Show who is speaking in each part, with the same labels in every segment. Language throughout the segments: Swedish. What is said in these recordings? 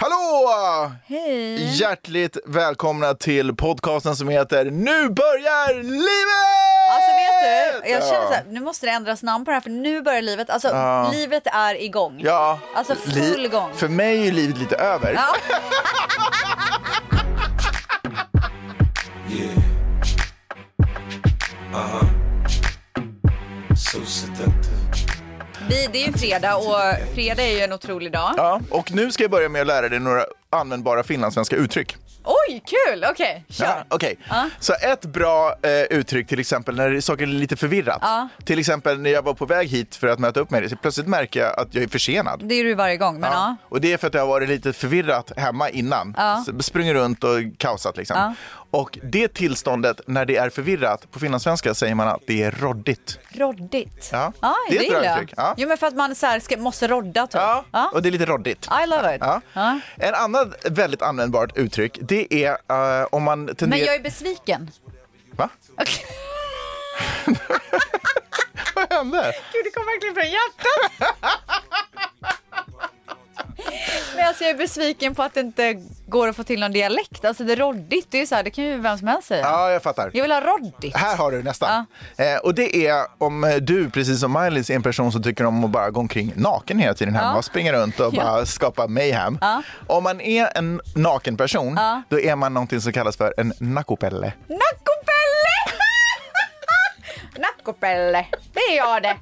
Speaker 1: Hallå!
Speaker 2: Hej!
Speaker 1: Hjärtligt välkomna till podcasten som heter Nu börjar livet!
Speaker 2: Alltså vet du, jag känner
Speaker 1: Ja.
Speaker 2: så här, nu måste det ändras namn på det här för nu börjar livet. Alltså livet är igång.
Speaker 1: Ja.
Speaker 2: Alltså full gång.
Speaker 1: För mig är livet lite över.
Speaker 2: Ja.
Speaker 3: Yeah. Uh-huh. So seductive.
Speaker 2: Vi, det är ju fredag och fredag är ju en otrolig dag.
Speaker 1: Ja, och nu ska jag börja med att lära dig några användbara finlandssvenska uttryck.
Speaker 2: Oj, kul! Okej, kör.
Speaker 1: Ja, Okej, så ett bra eh, uttryck till exempel när saker är lite förvirrat. Till exempel när jag var på väg hit för att möta upp med dig, så plötsligt märker jag att jag är försenad.
Speaker 2: Det är du varje gång, men ja.
Speaker 1: Och det är för att jag har varit lite förvirrat hemma innan.
Speaker 2: Ja.
Speaker 1: S- Springer runt och kaosat liksom. Och det tillståndet när det är förvirrat, på finlandssvenska säger man att det är roddigt.
Speaker 2: Roddigt.
Speaker 1: Ja.
Speaker 2: Ja,
Speaker 1: Det är ett bra
Speaker 2: gillar jag.
Speaker 1: uttryck. Ja.
Speaker 2: Jo, men för att man så här ska, måste rodda typ.
Speaker 1: Ja. Och det är lite roddigt.
Speaker 2: I love it.
Speaker 1: Ja.
Speaker 2: Ja.
Speaker 1: En annan väldigt användbart uttryck, det är eh, om man
Speaker 2: Men
Speaker 1: tenderar...
Speaker 2: jag är besviken.
Speaker 1: Va? Vad hände?
Speaker 2: Gud, det kom verkligen från hjärtat. Men alltså jag är besviken på att det inte går att få till någon dialekt. Alltså det är roddigt, det är ju så här, det kan ju vem som helst säga.
Speaker 1: Ja, jag fattar.
Speaker 2: Jag vill ha roddigt.
Speaker 1: Här har du nästan. Eh, och det är om eh, du, precis som Miley är en person som tycker om att bara gå omkring naken hela tiden hemma och springa runt och bara skapa mayhem. Om man är en naken person, då är man någonting som kallas för en nakopelle.
Speaker 2: Nackopelle! nackopelle, det är jag det.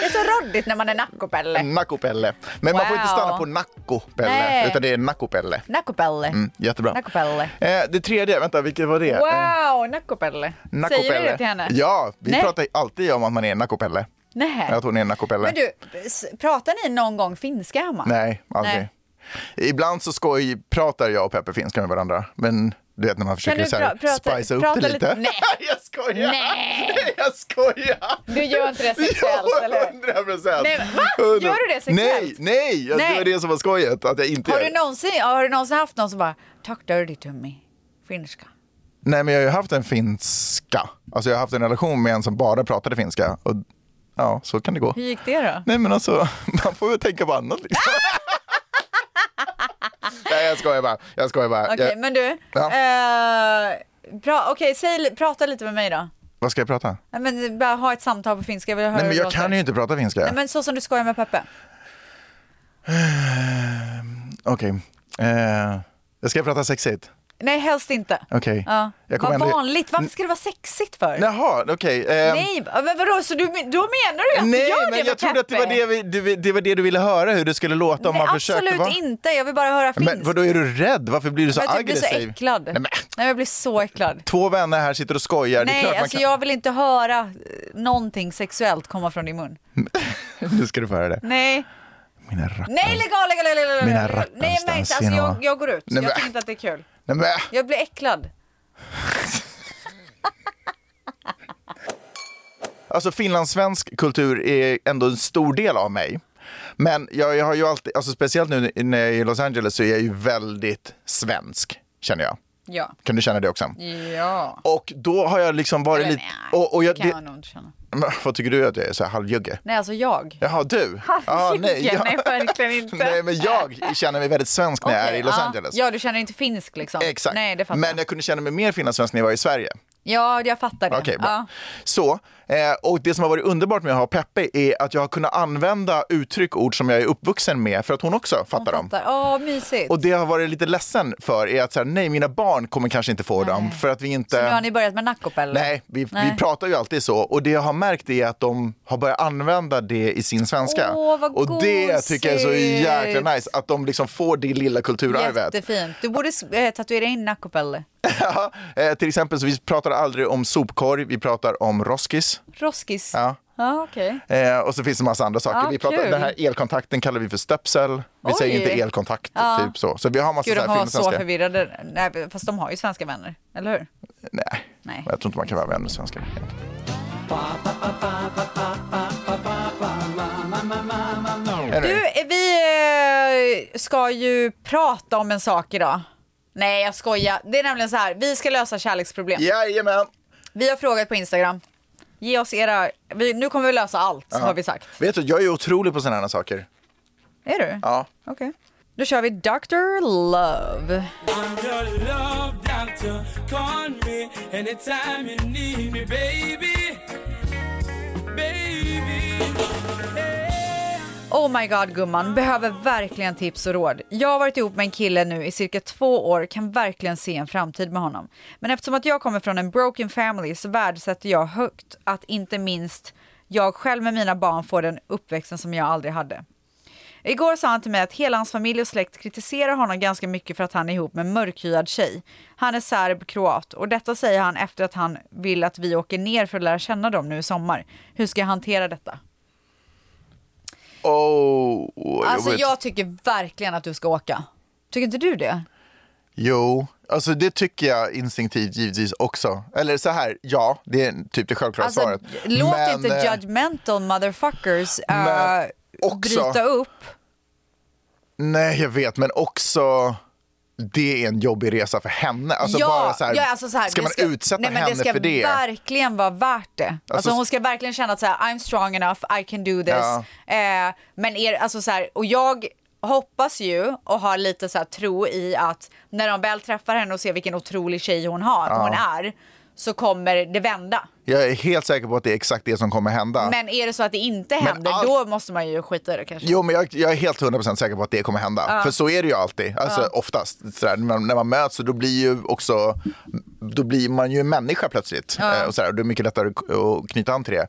Speaker 2: Det är så roddigt när man är
Speaker 1: Mm.
Speaker 2: nackopelle.
Speaker 1: Nakopelle. Men man får
Speaker 2: Wow.
Speaker 1: inte stanna på nakopelle,
Speaker 2: Nej.
Speaker 1: utan det är nakopelle.
Speaker 2: Nackopelle.
Speaker 1: Mm, jättebra.
Speaker 2: Nackopelle.
Speaker 1: Eh, det tredje, vänta, vilket var det? Eh,
Speaker 2: Wow, nackopelle. Säger du det till henne?
Speaker 1: Ja, vi
Speaker 2: Nej.
Speaker 1: pratar alltid om att man är en nakopelle.
Speaker 2: Nej.
Speaker 1: Att hon är en nakopelle.
Speaker 2: Men du, s- pratar ni någon gång finska hemma?
Speaker 1: Nej, aldrig.
Speaker 2: Nej.
Speaker 1: Ibland så skoj pratar jag och Peppe finska med varandra, men du vet när man försöker
Speaker 2: du
Speaker 1: så här,
Speaker 2: pra- prata-
Speaker 1: spicea upp
Speaker 2: prata
Speaker 1: det
Speaker 2: lite-
Speaker 1: lite.
Speaker 2: Nej.
Speaker 1: jag skojar!
Speaker 2: Nej.
Speaker 1: jag skojar!
Speaker 2: Du gör inte det sexuellt,
Speaker 1: Jo,
Speaker 2: eller hur?
Speaker 1: 100 procent!
Speaker 2: Nej, men- va? Gör du det
Speaker 1: Nej,
Speaker 2: sexuellt?
Speaker 1: nej! Jag-
Speaker 2: Nej.
Speaker 1: Det var det som var skojet, att jag inte
Speaker 2: Har
Speaker 1: gör
Speaker 2: du,
Speaker 1: det.
Speaker 2: någonsin, ja, har du någonsin haft någon som bara talk dirty to me, finska?
Speaker 1: Nej, men jag har ju haft en finska. Alltså jag har haft en relation med en som bara pratade finska. Och, ja, så kan det gå.
Speaker 2: Hur gick det då?
Speaker 1: Nej men alltså, man får väl tänka på annat liksom. Nej jag skojar bara, jag skojar bara.
Speaker 2: Okej,
Speaker 1: jag,
Speaker 2: men du.
Speaker 1: Ja.
Speaker 2: eh, pra, Okej, säg, prata lite med mig då.
Speaker 1: Vad ska jag prata?
Speaker 2: Nej, Men, bara ha ett samtal på finska. Jag vill höra
Speaker 1: Nej
Speaker 2: hur det
Speaker 1: men jag
Speaker 2: låter.
Speaker 1: kan ju inte prata finska.
Speaker 2: Nej, men så som du skojar med Peppe.
Speaker 1: Okej. Eh, jag ska prata sexigt.
Speaker 2: Nej, helst inte.
Speaker 1: Okej.
Speaker 2: Ja.
Speaker 1: Jag
Speaker 2: Vad
Speaker 1: kommer aldrig-
Speaker 2: vanligt. Varför ska det vara sexigt för?
Speaker 1: Jaha, okej. ehm,
Speaker 2: Nej, men vadå, så du, då menar du att du
Speaker 1: nej,
Speaker 2: gör det
Speaker 1: men
Speaker 2: med
Speaker 1: jag trodde att det var
Speaker 2: Peppe?
Speaker 1: det, vi, det, det var det du ville höra, hur det skulle låta om
Speaker 2: Nej,
Speaker 1: man försökte
Speaker 2: absolut
Speaker 1: vara...
Speaker 2: inte. Jag vill bara höra finsk.
Speaker 1: Men vadå, är du rädd? Varför blir du så
Speaker 2: Men jag typ blir så
Speaker 1: aggressiv?
Speaker 2: äcklad.
Speaker 1: Nej, men,
Speaker 2: Nej, jag blir så äcklad.
Speaker 1: två vänner här sitter och skojar. det är
Speaker 2: Nej,
Speaker 1: klart man
Speaker 2: alltså
Speaker 1: kan...
Speaker 2: jag vill inte höra eh, någonting sexuellt komma från din mun.
Speaker 1: Nu ska du få höra det.
Speaker 2: Nej,
Speaker 1: Mina rackare.
Speaker 2: nej, lägg av, lägg av, lägg av, lägg av.
Speaker 1: Mina
Speaker 2: lägg av.
Speaker 1: rackarns
Speaker 2: Nej, men, alltså, jag,
Speaker 1: dansgenom.
Speaker 2: jag går ut.
Speaker 1: Nej,
Speaker 2: jag
Speaker 1: men-
Speaker 2: tycker inte att det är kul.
Speaker 1: Nej, men,
Speaker 2: Jag blir äcklad.
Speaker 1: alltså finlandssvensk kultur är ändå en stor del av mig. Men jag, jag har ju alltid, alltså speciellt nu när jag är i Los Angeles så är jag ju väldigt svensk, känner jag.
Speaker 2: Ja.
Speaker 1: Kan du känna det också?
Speaker 2: Ja.
Speaker 1: Och då har jag liksom varit
Speaker 2: Eller
Speaker 1: lite...
Speaker 2: nej,
Speaker 1: Och, och jag,
Speaker 2: kan
Speaker 1: det,
Speaker 2: jag nog inte känna.
Speaker 1: Men vad tycker du att jag är? Så här halvjugge?
Speaker 2: Nej, alltså jag.
Speaker 1: Jaha, du?
Speaker 2: Halvjugge?
Speaker 1: ja.
Speaker 2: Nej, verkligen inte.
Speaker 1: nej, men jag känner mig väldigt svensk när jag är
Speaker 2: Okej,
Speaker 1: i Los
Speaker 2: ja.
Speaker 1: Angeles.
Speaker 2: Ja, du känner inte finsk liksom?
Speaker 1: Exakt.
Speaker 2: Nej, det fattar
Speaker 1: men
Speaker 2: jag.
Speaker 1: jag kunde känna mig mer finlandssvensk när jag var i Sverige.
Speaker 2: Ja, jag fattar det.
Speaker 1: Okej, bra.
Speaker 2: ja.
Speaker 1: Så, eh, och det som har varit underbart med att ha Peppe är att jag har kunnat använda uttryck och ord som jag är uppvuxen med för att hon också fattar dem.
Speaker 2: Fattar. Åh, mysigt.
Speaker 1: Och det jag har varit lite ledsen för är att så här, nej, mina barn kommer kanske inte få dem för att vi inte...
Speaker 2: Så nu har ni börjat med nackopelle?
Speaker 1: Nej, vi,
Speaker 2: Nej.
Speaker 1: vi pratar ju alltid så. Och det jag har märkt är att de har börjat använda det i sin svenska.
Speaker 2: Åh, vad
Speaker 1: och det tycker jag är så
Speaker 2: gosigt.
Speaker 1: jäkla nice, att de liksom får det lilla kulturarvet.
Speaker 2: Jättefint. Du borde eh, tatuera in nackopelle.
Speaker 1: Ja, eh, till exempel, så vi pratar aldrig om sopkorg, vi pratar om roskis.
Speaker 2: Roskis.
Speaker 1: Ja.
Speaker 2: Ja, okej.
Speaker 1: Eh, och så finns det massa andra saker.
Speaker 2: Ah,
Speaker 1: vi pratar,
Speaker 2: kul.
Speaker 1: den här elkontakten kallar vi för stöpsel. Vi
Speaker 2: Oj.
Speaker 1: säger inte elkontakt,
Speaker 2: Ja.
Speaker 1: typ så. Så vi har massa
Speaker 2: Gud,
Speaker 1: så
Speaker 2: de
Speaker 1: här
Speaker 2: var
Speaker 1: fina
Speaker 2: så
Speaker 1: svenska.
Speaker 2: förvirrade. Nej, fast de har ju svenska vänner, eller hur?
Speaker 1: Nej.
Speaker 2: Nej.
Speaker 1: jag tror inte man kan vara vän med svenskar. egentligen. Är det?
Speaker 2: Du, eh, vi eh, ska ju prata om en sak idag. Nej, jag skojar. Det är nämligen så här, vi ska lösa kärleksproblem.
Speaker 1: Jajamän!
Speaker 2: Vi har frågat på Instagram. Ge oss era... Vi, nu kommer vi lösa allt, har vi sagt.
Speaker 1: Vet du, jag är otrolig på sådana här saker.
Speaker 2: Är du?
Speaker 1: Ja.
Speaker 2: Okej. Då kör vi Dr. Love.
Speaker 4: Your love doctor, call me anytime you need me, baby. Baby.
Speaker 2: Oh my god gumman, behöver verkligen tips och råd. Jag har varit ihop med en kille nu i cirka två år, kan verkligen se en framtid med honom. Men eftersom att jag kommer från en broken family så värdesätter jag högt att inte minst jag själv med mina barn får den uppväxten som jag aldrig hade. Igår sa han till mig att hela hans familj och släkt kritiserar honom ganska mycket för att han är ihop med en mörkhyad tjej. Han är serb-kroat och detta säger han efter att han vill att vi åker ner för att lära känna dem nu i sommar. Hur ska jag hantera detta?
Speaker 1: Oh, vad
Speaker 2: Alltså
Speaker 1: jobbigt.
Speaker 2: jag tycker verkligen att du ska åka. Tycker inte du det?
Speaker 1: Jo, alltså det tycker jag instinktivt givetvis också. Eller så här, ja, det är typ det självklara
Speaker 2: Alltså,
Speaker 1: svaret.
Speaker 2: låt
Speaker 1: Men,
Speaker 2: inte
Speaker 1: eh,
Speaker 2: judgmental motherfuckers eh,
Speaker 1: men också-
Speaker 2: bryta upp.
Speaker 1: Nej, jag vet, men också det är en jobbig resa för henne. Alltså bara så här,
Speaker 2: ja, alltså så här,
Speaker 1: ska
Speaker 2: det
Speaker 1: man utsätta
Speaker 2: nej, men
Speaker 1: henne
Speaker 2: det ska
Speaker 1: för det?
Speaker 2: verkligen vara värt det. Alltså,
Speaker 1: Alltså,
Speaker 2: hon ska verkligen känna att så här, I'm strong enough, I can do this.
Speaker 1: Ja.
Speaker 2: Eh, men er, alltså så här, och jag hoppas ju och har lite så här tro i att när de väl träffar henne och ser vilken otrolig tjej hon har, hon är, så kommer det vända.
Speaker 1: Jag är helt säker på att det är exakt det som kommer hända.
Speaker 2: Men är det så att det inte händer,
Speaker 1: allt-
Speaker 2: då måste man ju skita i det kanske.
Speaker 1: Jo, men jag, jag är helt 100% säker på att det kommer hända. För så är det ju alltid, alltså oftast. Sådär, när, man, när man möts så då blir ju också, då blir man ju en människa plötsligt. Eh, Och, sådär, och det är mycket lättare att- att knyta an till det.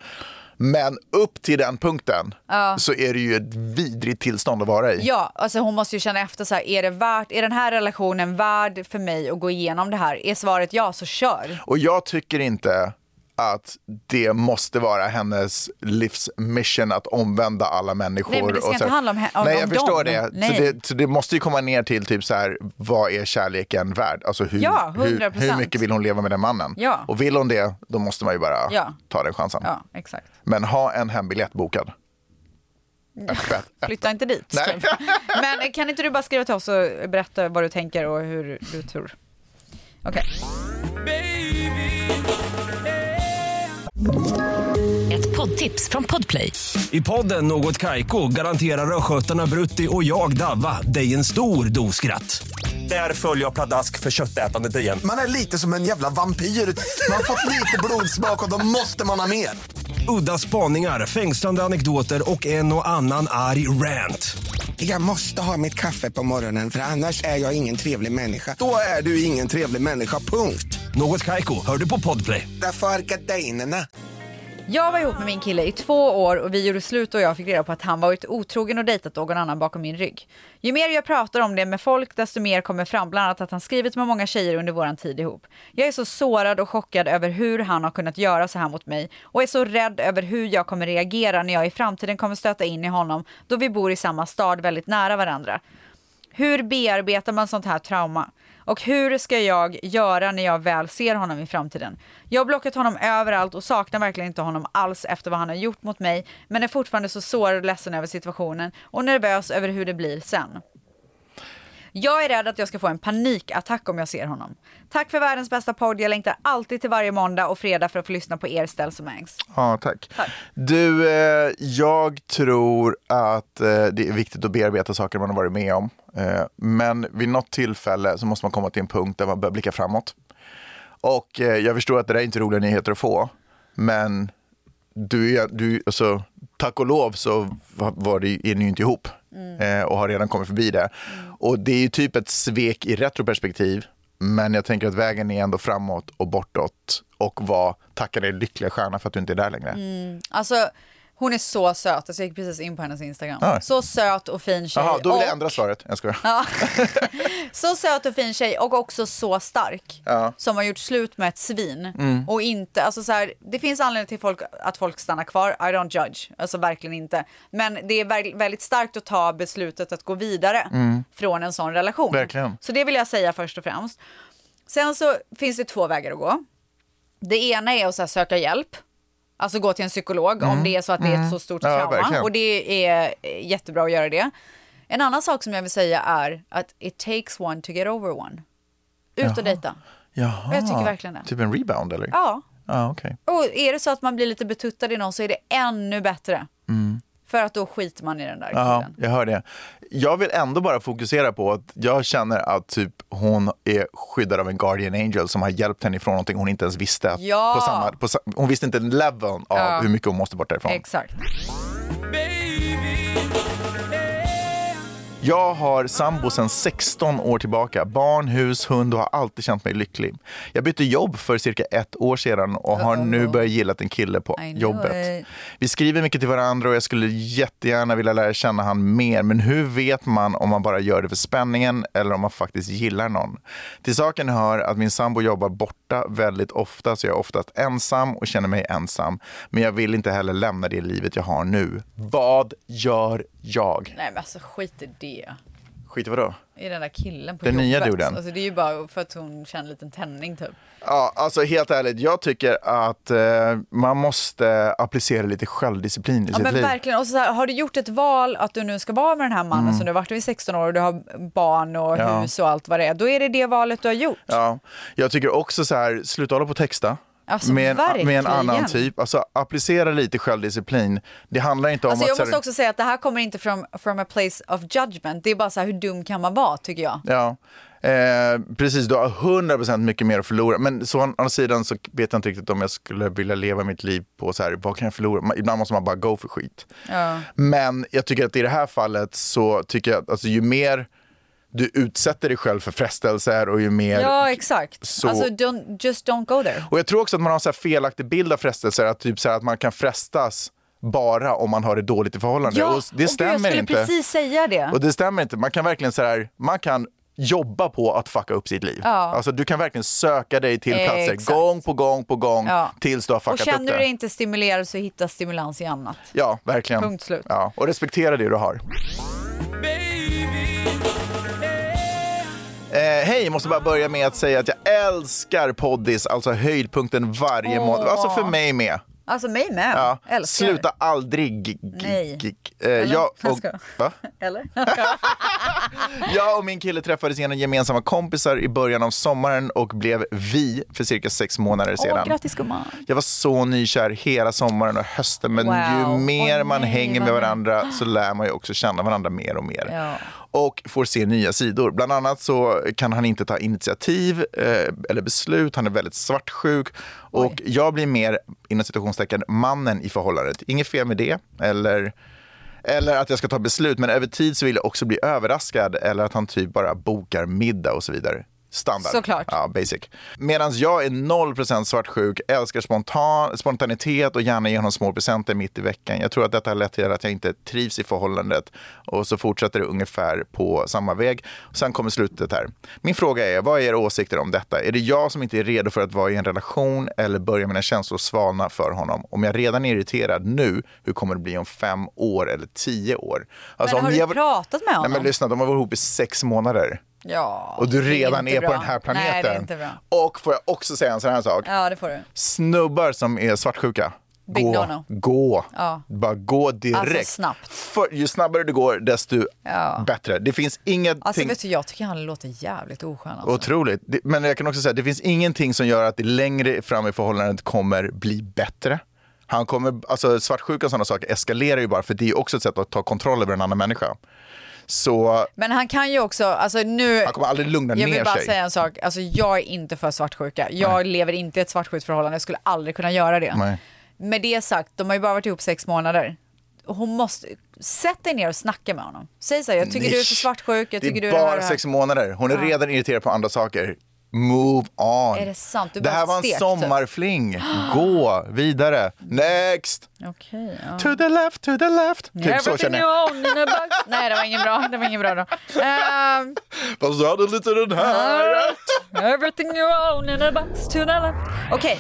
Speaker 1: Men upp till den punkten så är det ju ett vidrigt tillstånd att vara i.
Speaker 2: Ja, alltså hon måste ju känna efter så här, är det värt, är den här relationen värd för mig att gå igenom det här? Är svaret ja, så kör.
Speaker 1: Och jag tycker inte att det måste vara hennes livsmission att omvända alla människor.
Speaker 2: Nej, men det ska
Speaker 1: och
Speaker 2: inte
Speaker 1: här-
Speaker 2: handla om he- om-
Speaker 1: Nej,
Speaker 2: om
Speaker 1: jag förstår
Speaker 2: dem.
Speaker 1: det.
Speaker 2: Nej.
Speaker 1: Så det. Så det måste ju komma ner till typ så här, vad är kärleken värd? Alltså hur,
Speaker 2: Ja,
Speaker 1: hur,
Speaker 2: 100%.
Speaker 1: hur mycket vill hon leva med den mannen?
Speaker 2: Ja.
Speaker 1: Och vill hon det, då måste man ju bara
Speaker 2: Ja.
Speaker 1: ta den chansen.
Speaker 2: Ja, exakt.
Speaker 1: Men ha en hembiljett bokad. Öppet.
Speaker 2: Flytta inte dit.
Speaker 1: Nej.
Speaker 2: typ. Men kan inte du bara skriva till oss och berätta vad du tänker och hur du tror? Okej.
Speaker 5: Ett poddtips från Podplay.
Speaker 6: I podden Något Kaiko garanterar östgötarna Brutti och jag, Davva, dig en stor dos skratt. Där följer jag pladask för köttätandet igen.
Speaker 7: Man är lite som en jävla vampyr. Man har fått lite blodsmak och då måste man ha mer.
Speaker 6: Udda spaningar, fängslande anekdoter och en och annan arg rant.
Speaker 7: Jag måste ha mitt kaffe på morgonen för annars är jag ingen trevlig människa. Då är du ingen trevlig människa, punkt.
Speaker 6: Något Kaiko, hör du på Podplay.
Speaker 7: Därför är gardinerna.
Speaker 2: Jag var ihop med min kille i två år och vi gjorde slut och jag fick reda på att han varit otrogen och dejtat någon annan bakom min rygg. Ju mer jag pratar om det med folk desto mer kommer fram bland annat att han skrivit med många tjejer under våran tid ihop. Jag är så sårad och chockad över hur han har kunnat göra så här mot mig och är så rädd över hur jag kommer reagera när jag i framtiden kommer stöta in i honom då vi bor i samma stad väldigt nära varandra. Hur bearbetar man sånt här trauma? Och hur ska jag göra när jag väl ser honom i framtiden? Jag har blockat honom överallt och saknar verkligen inte honom alls efter vad han har gjort mot mig, men är fortfarande så sårad och ledsen över situationen och nervös över hur det blir sen. Jag är rädd att jag ska få en panikattack om jag ser honom. Tack för världens bästa podd. Jag längtar alltid till varje måndag och fredag för att få lyssna på er ställ som ägs.
Speaker 1: Ja, tack. Du, eh, jag tror att eh, det är viktigt att bearbeta saker man har varit med om. Eh, men vid något tillfälle så måste man komma till en punkt där man börjar blicka framåt. Och eh, jag förstår att det där är inte roliga nyheter att få, men du, är- du, alltså, tack och lov så var- var det, är ni ju inte ihop
Speaker 2: Mm.
Speaker 1: eh, och har redan kommit förbi det. Och det är ju typ ett svek i retroperspektiv, men jag tänker att vägen är ändå
Speaker 2: Mm.
Speaker 1: framåt och bortåt och var tacka dig lyckliga stjärna för att du inte är där längre.
Speaker 2: Alltså Hon är så söt. Alltså, jag gick precis in på hennes Instagram.
Speaker 1: Ja.
Speaker 2: Så söt och fin tjej.
Speaker 1: Jaha, då vill jag
Speaker 2: Och-
Speaker 1: ändra svaret. Jag skojar.
Speaker 2: Ja. så söt och fin tjej och också så stark.
Speaker 1: Ja. Mm.
Speaker 2: Som har gjort slut med ett svin. Och inte, alltså så här, det finns anledning till folk, att folk stannar kvar. I don't judge. Alltså verkligen inte. Men det är väl- väldigt starkt att ta beslutet att gå vidare från en sån relation.
Speaker 1: Mm. Verkligen.
Speaker 2: Så det vill jag säga först och främst. Sen så finns det två vägar att gå. Det ena är att så här, söka hjälp. Alltså gå till en psykolog om det är så att det är ett så stort
Speaker 1: Mm. Ja,
Speaker 2: trauma.
Speaker 1: verkligen.
Speaker 2: och det är eh, jättebra att göra det. En annan sak som jag vill säga är att it takes one to get over one. Ut och dejta.
Speaker 1: Jaha.
Speaker 2: Jag tycker verkligen det.
Speaker 1: Typ en rebound eller?
Speaker 2: Ja.
Speaker 1: Ja, okej.
Speaker 2: Och är det så att man blir lite betuttad i någon så är det ännu bättre. För att då skiter man i den där
Speaker 1: Mm. Ja,
Speaker 2: killen.
Speaker 1: jag hör det. Jag vill ändå bara fokusera på att jag känner att typ hon är skyddad av en guardian angel som har hjälpt henne ifrån någonting hon inte ens visste. att-
Speaker 2: Ja.
Speaker 1: På samma, på, sa- hon visste inte leveln av
Speaker 2: Ja.
Speaker 1: hur mycket hon måste bort därifrån.
Speaker 2: Exakt.
Speaker 1: Jag har sambo sedan 16 år tillbaka. Barn, hus, hund och har alltid känt mig lycklig. Jag bytte jobb för cirka ett år sedan och har nu börjat gilla en kille på
Speaker 2: I know
Speaker 1: jobbet.
Speaker 2: it.
Speaker 1: Vi skriver mycket till varandra och jag skulle jättegärna vilja lära känna han mer. Men hur vet man om man bara gör det för spänningen eller om man faktiskt gillar någon? Till saken hör att min sambo jobbar borta väldigt ofta så jag är oftast ensam och känner mig ensam. Men jag vill inte heller lämna det livet jag har nu. Vad gör jag?
Speaker 2: Nej men alltså skit i det.
Speaker 1: Skit i vadå?
Speaker 2: I den där killen på
Speaker 1: Den
Speaker 2: jobbet.
Speaker 1: nya duden.
Speaker 2: Alltså det är ju bara för att hon känner en liten tändning typ.
Speaker 1: Ja, alltså helt ärligt, jag tycker att eh, man måste applicera lite självdisciplin i
Speaker 2: Ja,
Speaker 1: sitt
Speaker 2: men
Speaker 1: liv.
Speaker 2: verkligen. Och så här, har du gjort ett val att du nu ska vara med den här mannen som du har varit med i 16 år och du har barn och
Speaker 1: Mm. Ja.
Speaker 2: hus och allt vad det är, då är det det valet du har gjort.
Speaker 1: Ja, jag tycker också så här, sluta hålla på och texta.
Speaker 2: Alltså,
Speaker 1: med, en, med en
Speaker 2: verkligen.
Speaker 1: annan typ. Alltså applicera lite självdisciplin. Det handlar inte om
Speaker 2: Alltså,
Speaker 1: att...
Speaker 2: jag
Speaker 1: så här-
Speaker 2: måste också säga att det här kommer inte från from a place of judgment. Det är bara så här, hur dum kan man vara tycker jag.
Speaker 1: Ja, eh, precis. Du har 100% mycket mer att förlora. Men så å andra sidan så vet jag inte riktigt om jag skulle vilja leva mitt liv på så här, vad kan jag förlora? Man- Ibland måste man bara go för skit. Men jag tycker att i det här fallet så tycker jag att alltså, ju mer du utsätter dig själv för frestelser och ju mer
Speaker 2: Ja, exakt.
Speaker 1: Så-
Speaker 2: Alltså, don't, just don't go there.
Speaker 1: och jag tror också att man har en så här felaktig bild av frestelser, att, typ så här, att man kan frestas bara om man har det dåligt i förhållande.
Speaker 2: Ja,
Speaker 1: och det stämmer
Speaker 2: gud, jag skulle
Speaker 1: inte.
Speaker 2: precis säga det.
Speaker 1: Och det stämmer inte. Man kan verkligen så här, man kan jobba på att fucka upp sitt liv. Alltså, du kan verkligen söka dig till platser
Speaker 2: Exakt.
Speaker 1: gång på gång på gång
Speaker 2: Ja.
Speaker 1: tills du har
Speaker 2: Och
Speaker 1: fuckat upp
Speaker 2: känner
Speaker 1: det.
Speaker 2: du dig inte stimulerad så hitta stimulans i annat.
Speaker 1: Ja, verkligen.
Speaker 2: Punkt slut.
Speaker 1: Ja, och respektera det du har. Eh, Hej, jag måste bara börja med att säga att jag älskar poddis, alltså höjdpunkten varje
Speaker 2: Åh.
Speaker 1: månad. Alltså för mig med.
Speaker 2: Alltså mig med.
Speaker 1: Ja.
Speaker 2: Älskar.
Speaker 1: Sluta aldrig. G- g-
Speaker 2: Nej.
Speaker 1: g- eh, jag,
Speaker 2: Jag
Speaker 1: och,
Speaker 2: skojar.
Speaker 1: va?
Speaker 2: Eller?
Speaker 1: jag och min kille träffades genom gemensamma kompisar i början av sommaren och blev vi för cirka sex månader sedan.
Speaker 2: Åh, grattis gumman.
Speaker 1: Jag var så nykär hela sommaren och hösten men
Speaker 2: Wow.
Speaker 1: ju mer
Speaker 2: Åh,
Speaker 1: man
Speaker 2: nej,
Speaker 1: hänger med
Speaker 2: vad
Speaker 1: varandra så lär man ju också känna varandra mer och mer.
Speaker 2: Ja.
Speaker 1: Och får se nya sidor. Bland annat så kan han inte ta initiativ eh, eller beslut, han är väldigt svartsjuk. Och jag blir mer, inom citationstecken, mannen i förhållandet. Inget fel med det. Eller... Eller att jag ska ta beslut, men över tid så vill jag också bli överraskad eller att han typ bara bokar middag och så vidare. Standard.
Speaker 2: Såklart.
Speaker 1: Ja, basic. Medan jag är 0% svartsjuk, älskar spontan, spontanitet och gärna ger honom små presenter mitt i veckan. Jag tror att detta har lett till att jag inte trivs i förhållandet och så fortsätter det ungefär på samma väg. Sen kommer slutet här. Min fråga är, vad är era åsikter om detta? Är det jag som inte är redo för att vara i en relation eller börjar mina känslor svalna för honom? Om jag redan är irriterad nu, hur kommer det bli om fem år eller tio år? Alltså,
Speaker 2: Men
Speaker 1: om
Speaker 2: har
Speaker 1: ni
Speaker 2: du pratat med
Speaker 1: Nej,
Speaker 2: honom?
Speaker 1: men lyssna, de har varit ihop i sex månader
Speaker 2: Ja.
Speaker 1: och du
Speaker 2: det är
Speaker 1: redan
Speaker 2: inte
Speaker 1: är, på
Speaker 2: bra.
Speaker 1: den här planeten.
Speaker 2: Nej, det är inte bra.
Speaker 1: Och får jag också säga en sån här sak.
Speaker 2: Ja, det får du.
Speaker 1: Snubbar som är svartsjuka,
Speaker 2: Big
Speaker 1: gå.
Speaker 2: no-no.
Speaker 1: gå.
Speaker 2: Ja.
Speaker 1: Bara gå direkt.
Speaker 2: Alltså, snabbt.
Speaker 1: För, ju snabbare du går, desto
Speaker 2: Ja.
Speaker 1: bättre. Det finns ingenting...
Speaker 2: Alltså vet du, jag tycker han låter jävligt oskön alltså.
Speaker 1: Otroligt. Det- Men jag kan också säga att det finns ingenting som gör att det längre fram i förhållandet kommer bli bättre. Han kommer, alltså svartsjuka och sådana saker eskalerar ju bara för det är ju också ett sätt att ta kontroll över en annan människa. Så
Speaker 2: Men han kan ju också, alltså nu...
Speaker 1: han kommer aldrig lugna
Speaker 2: Jag
Speaker 1: ner
Speaker 2: vill bara
Speaker 1: sig.
Speaker 2: säga en sak, alltså jag är inte för svartsjuka. Jag lever inte i ett svartsjukt förhållande, jag skulle aldrig kunna göra det.
Speaker 1: Nej.
Speaker 2: Med det sagt, de har ju bara varit ihop sex månader. Hon måste, sätt dig ner och snacka med honom. Säg så här, jag tycker du är för
Speaker 1: Ish.
Speaker 2: svartsjuk, jag tycker
Speaker 1: det
Speaker 2: du är
Speaker 1: är
Speaker 2: det här
Speaker 1: bara
Speaker 2: och det här.
Speaker 1: sex månader. Hon är redan irriterad på andra saker. Move on.
Speaker 2: Är det sant? Du
Speaker 1: det här
Speaker 2: bara
Speaker 1: var en
Speaker 2: stek, typ.
Speaker 1: sommarfling. Gå vidare. Next!
Speaker 2: Okej, ja.
Speaker 1: To the left, to the left. Typ så känner jag.
Speaker 2: Everything you own in a box. Nej, det var ingen bra. Det var ingen bra då. Ehm,
Speaker 1: Fast du hade lite den här.
Speaker 2: everything you own in a box to the left. Okej,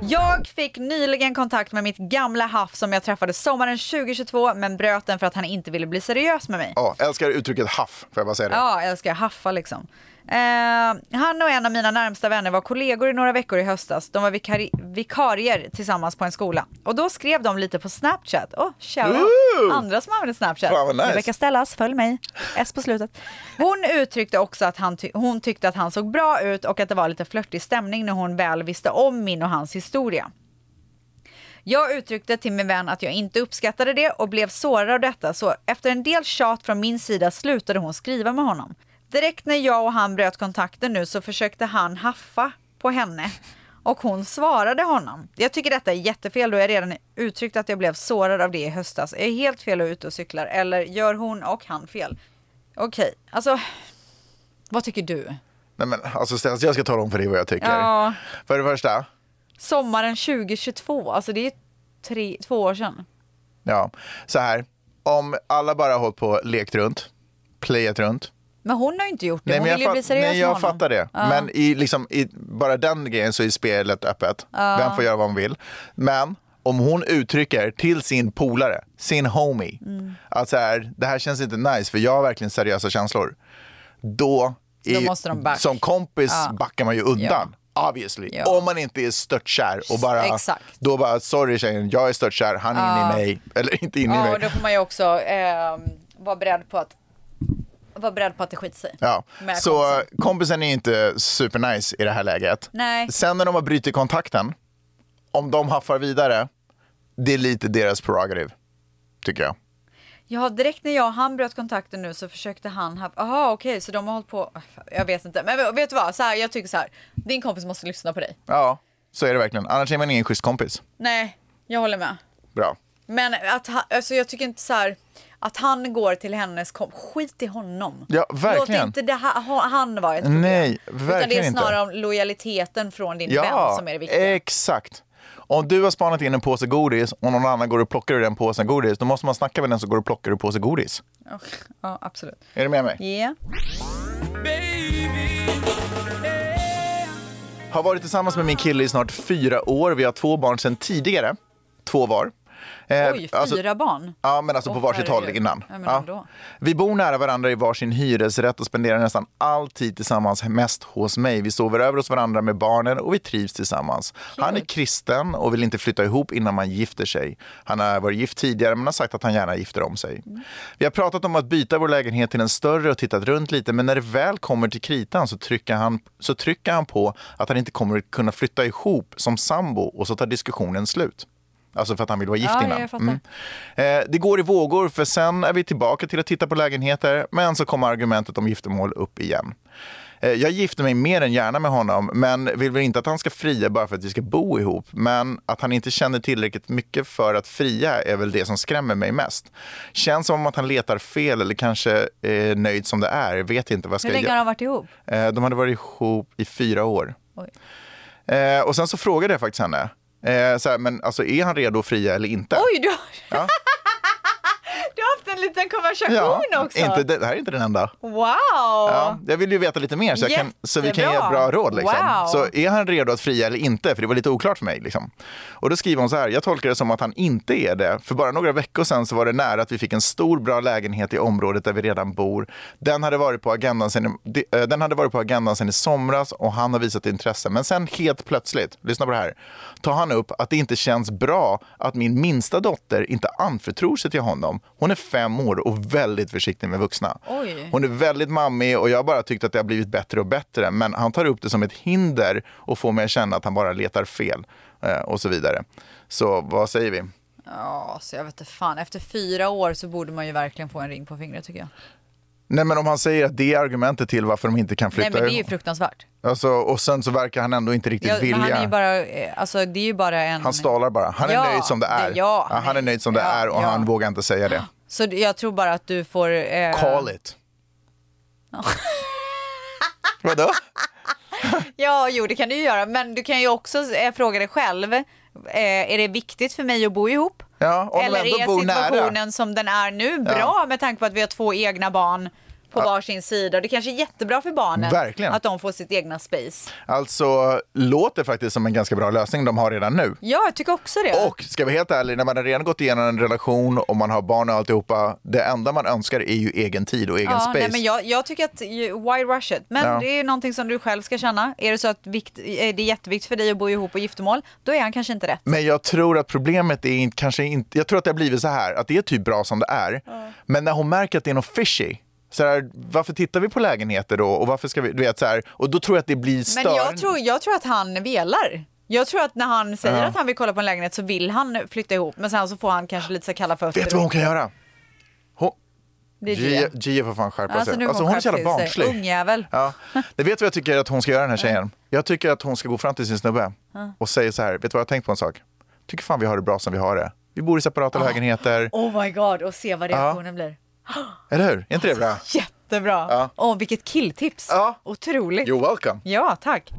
Speaker 2: jag fick nyligen kontakt med mitt gamla haff som jag träffade sommaren 2022 men bröt den för att han inte ville bli seriös med mig.
Speaker 1: Ja, älskar uttrycket haff, får jag bara säga det.
Speaker 2: Ja, jag älskar haffa liksom. Eh, han och en av mina närmsta vänner var kollegor i några veckor i höstas. De var vikari- vikarier tillsammans på en skola. Och då skrev de lite på Snapchat. Åh, oh,
Speaker 1: Ooh!
Speaker 2: Andra som använder Snapchat.
Speaker 1: Fan, vad nice.
Speaker 2: Rebecca Stellas, följ mig. S på slutet. Hon uttryckte också att han ty- hon tyckte att han såg bra ut och att det var lite flörtig stämning när hon väl visste om min och hans historia. Jag uttryckte till min vän att jag inte uppskattade det och blev sårad av detta så efter en del tjat från min sida slutade hon skriva med honom. Direkt när jag och han bröt kontakten nu så försökte han haffa på henne och hon svarade honom. Jag tycker detta är jättefel då jag redan uttryckt att jag blev sårad av det i höstas. Är jag helt fel och ute och cyklar eller gör hon och han fel? Okej, alltså vad tycker du?
Speaker 1: Nej, men, alltså, Stens, jag ska tala om för dig vad jag tycker.
Speaker 2: Ja.
Speaker 1: För det första,
Speaker 2: Sommaren 2022, alltså det är tre, två år sedan.
Speaker 1: ja, så här. Om alla bara har hållit på och lekt runt, playat runt,
Speaker 2: Men hon har ju inte gjort det,
Speaker 1: Nej,
Speaker 2: hon
Speaker 1: men jag,
Speaker 2: vill ju bli
Speaker 1: fat-
Speaker 2: seriös
Speaker 1: nej, jag
Speaker 2: med honom.
Speaker 1: fattar det. Men i, liksom, i bara den grejen så är spelet öppet. Vem får göra vad hon vill. Men om hon uttrycker till sin polare, sin homie,
Speaker 2: Mm.
Speaker 1: att så här, det här känns inte nice för jag har verkligen seriösa känslor. Då,
Speaker 2: Då
Speaker 1: är-
Speaker 2: måste de back.
Speaker 1: som kompis backar man ju undan. Obviously.
Speaker 2: Ja.
Speaker 1: Om man inte är störtkär och bara,
Speaker 2: Exakt.
Speaker 1: då bara sorry tjejen, jag är störtkär, han är inne i mig. Eller inte inne i
Speaker 2: Ja,
Speaker 1: mig.
Speaker 2: och då får man ju också eh, vara beredd på att vara beredd på att det skiter sig.
Speaker 1: Ja.
Speaker 2: Med
Speaker 1: Så kompisen.
Speaker 2: kompisen.
Speaker 1: är inte supernice i det här läget.
Speaker 2: Nej.
Speaker 1: Sen när de har brutit kontakten, om de haffar vidare, det är lite deras prerogative, tycker jag.
Speaker 2: Ja, direkt när jag och han bröt kontakten nu så försökte han ha... Jaha, okej, så de har hållit på... Äh, Jag vet inte. Men vet du vad? Så här, jag tycker så här. Din kompis måste lyssna på dig.
Speaker 1: Ja, så är det verkligen. Annars är man ingen schysst kompis.
Speaker 2: Nej, jag håller med.
Speaker 1: Bra.
Speaker 2: Men att han, alltså jag tycker inte så här... Att han går till hennes kompis. Skit i honom.
Speaker 1: Ja, verkligen.
Speaker 2: Låt inte det här, ha- han vara ett problem.
Speaker 1: Nej,
Speaker 2: Utan det
Speaker 1: verkligen
Speaker 2: är
Speaker 1: inte.
Speaker 2: snarare om lojaliteten från din vän
Speaker 1: Ja,
Speaker 2: som är det viktiga.
Speaker 1: exakt. Om du har spanat in en påse godis och någon annan går och plockar ur den påsen godis, då måste man snacka med den som går och plockar ur påse godis.
Speaker 2: Ja, Ja, absolut.
Speaker 1: Är du med mig?
Speaker 2: Yeah.
Speaker 1: Har varit tillsammans med min kille i snart fyra år. Vi har två barn sedan tidigare. Två var. Eh,
Speaker 2: Oj, fyra
Speaker 1: alltså-
Speaker 2: barn?
Speaker 1: Ja, men alltså på
Speaker 2: Åh,
Speaker 1: varsitt håll
Speaker 2: herregud.
Speaker 1: innan.
Speaker 2: Ja, men
Speaker 1: Ja.
Speaker 2: ändå.
Speaker 1: Vi bor nära varandra i varsin hyresrätt och spenderar nästan all tid tillsammans, mest hos mig. Vi sover över hos varandra med barnen och vi trivs tillsammans. Han är kristen och vill inte flytta ihop innan man gifter sig. Han har varit gift tidigare men har sagt att han gärna gifter om sig.
Speaker 2: Mm.
Speaker 1: Vi har pratat om att byta vår lägenhet till en större och tittat runt lite men när det väl kommer till kritan så trycker han, så trycker han på att han inte kommer att kunna flytta ihop som sambo och så tar diskussionen slut. Alltså för att han vill vara gift
Speaker 2: Ja,
Speaker 1: innan.
Speaker 2: jag fattar.
Speaker 1: Eh, Det går i vågor för sen är vi tillbaka till att titta på lägenheter men så kommer argumentet om giftermål upp igen. Eh, Jag gifter mig mer än gärna med honom men vill väl inte att han ska fria bara för att vi ska bo ihop. Men att han inte känner tillräckligt mycket för att fria är väl det som skrämmer mig mest. Känns som att han letar fel eller kanske är nöjd som det är. Vet inte vad
Speaker 2: Hur
Speaker 1: ska jag
Speaker 2: länge har
Speaker 1: göra.
Speaker 2: de varit ihop?
Speaker 1: Eh, De hade varit ihop i fyra år.
Speaker 2: Oj.
Speaker 1: Eh, Och sen så frågade jag faktiskt henne. eh, Så här, men alltså är han redo att fria eller inte?
Speaker 2: Oj, du har... du har haft en liten konversation också!
Speaker 1: Inte, det här är inte den enda.
Speaker 2: Wow!
Speaker 1: Ja, jag vill ju veta lite mer så, jag kan, så vi kan ge
Speaker 2: Jättebra.
Speaker 1: bra råd. Liksom.
Speaker 2: Wow.
Speaker 1: Så är han redo att fria eller inte? För det var lite oklart för mig. Liksom. Och då skriver hon så här, jag tolkar det som att han inte är det. För bara några veckor sedan så var det nära att vi fick en stor bra lägenhet i området där vi redan bor. Den hade varit på agendan sen, de- eh, den hade varit på agendan sen i somras och han har visat intresse. Men sen helt plötsligt, lyssna på det här, tar han upp att det inte känns bra att min minsta dotter inte anförtror sig till honom. Hon är fem år och väldigt försiktig med vuxna.
Speaker 2: Oj.
Speaker 1: Hon är väldigt mammig och jag har bara tyckt att det har blivit bättre och bättre. Men han tar upp det som ett hinder och får mig att känna att han bara letar fel eh, och så vidare. Så vad säger vi?
Speaker 2: Ja, så jag vet inte fan. Efter fyra år så borde man ju verkligen få en ring på fingret tycker jag.
Speaker 1: Nej men om han säger att det är argumentet till varför de inte kan flytta
Speaker 2: Nej, men det är ju
Speaker 1: ihop.
Speaker 2: fruktansvärt.
Speaker 1: alltså, Och sen så verkar han ändå inte riktigt
Speaker 2: Ja, men
Speaker 1: vilja.
Speaker 2: han är ju bara, eh, alltså det är ju bara en...
Speaker 1: Han stalar bara. Han är
Speaker 2: Ja,
Speaker 1: nöjd som det är.
Speaker 2: det- ja,
Speaker 1: han är
Speaker 2: nej.
Speaker 1: nöjd som det
Speaker 2: Ja,
Speaker 1: är och
Speaker 2: ja.
Speaker 1: han vågar inte säga det.
Speaker 2: Så jag tror bara att du får... Eh...
Speaker 1: Call it. Vadå?
Speaker 2: Ja, jo det kan du ju göra, men du kan ju också eh, fråga dig själv, eh, är det viktigt för mig att bo ihop?
Speaker 1: Ja, om
Speaker 2: Eller
Speaker 1: de ändå
Speaker 2: är
Speaker 1: bor nära.
Speaker 2: situationen som den är nu bra med tanke på att vi har två egna barn på varsin sida? Det kanske är jättebra för barnen
Speaker 1: Verkligen.
Speaker 2: att de får sitt egna space.
Speaker 1: Alltså, låter faktiskt som en ganska bra lösning de har redan nu.
Speaker 2: Ja, jag tycker också det.
Speaker 1: Och ska vi helt ärlig, när man har redan gått igenom en relation och man har barn och alltihopa, det enda man önskar är ju egen tid och egen
Speaker 2: ja,
Speaker 1: space.
Speaker 2: Nej, men jag, jag tycker att, ju- why rush it? Men
Speaker 1: Ja.
Speaker 2: det är ju någonting som du själv ska känna. Är det så att vikt, eh, det är jätteviktigt för dig att bo ihop och giftermål, då är han kanske inte rätt.
Speaker 1: Men jag tror att problemet är inte, kanske inte, jag tror att det har blivit så här, att det är typ bra som det är. Men när hon märker att det är något fishy, så här, varför tittar vi på lägenheter då? Och varför ska vi, du vet så här, och då tror jag att det blir
Speaker 2: Men
Speaker 1: störande.
Speaker 2: jag tror, jag tror att han velar. Jag tror att när han säger att han vill kolla på en lägenhet så vill han flytta ihop, men sen så får han kanske lite så här kalla fötter.
Speaker 1: Vet du vad hon kan göra? Hon...
Speaker 2: Det är
Speaker 1: Gia
Speaker 2: det.
Speaker 1: Gia får fan skärpa
Speaker 2: Alltså, nu
Speaker 1: sig.
Speaker 2: har
Speaker 1: Alltså,
Speaker 2: hon
Speaker 1: hon är så jävla
Speaker 2: skärpt till sig.
Speaker 1: barnslig.
Speaker 2: Ungjävel.
Speaker 1: Ja. Det vet du vad jag tycker att hon ska göra den här tjejen? Jag tycker att hon ska gå fram till sin snubbe och säga så här, vet du vad jag har tänkt på en sak? Tycker fan vi har det bra som vi har det. Vi bor i
Speaker 2: Ah.
Speaker 1: separata lägenheter,
Speaker 2: Oh my god, och se vad reaktionen blir.
Speaker 1: eller hur? Är inte det bra?
Speaker 2: Jättebra! Åh, vilket killtips!
Speaker 1: Ja.
Speaker 2: Otroligt!
Speaker 1: You're welcome.
Speaker 2: Ja, tack!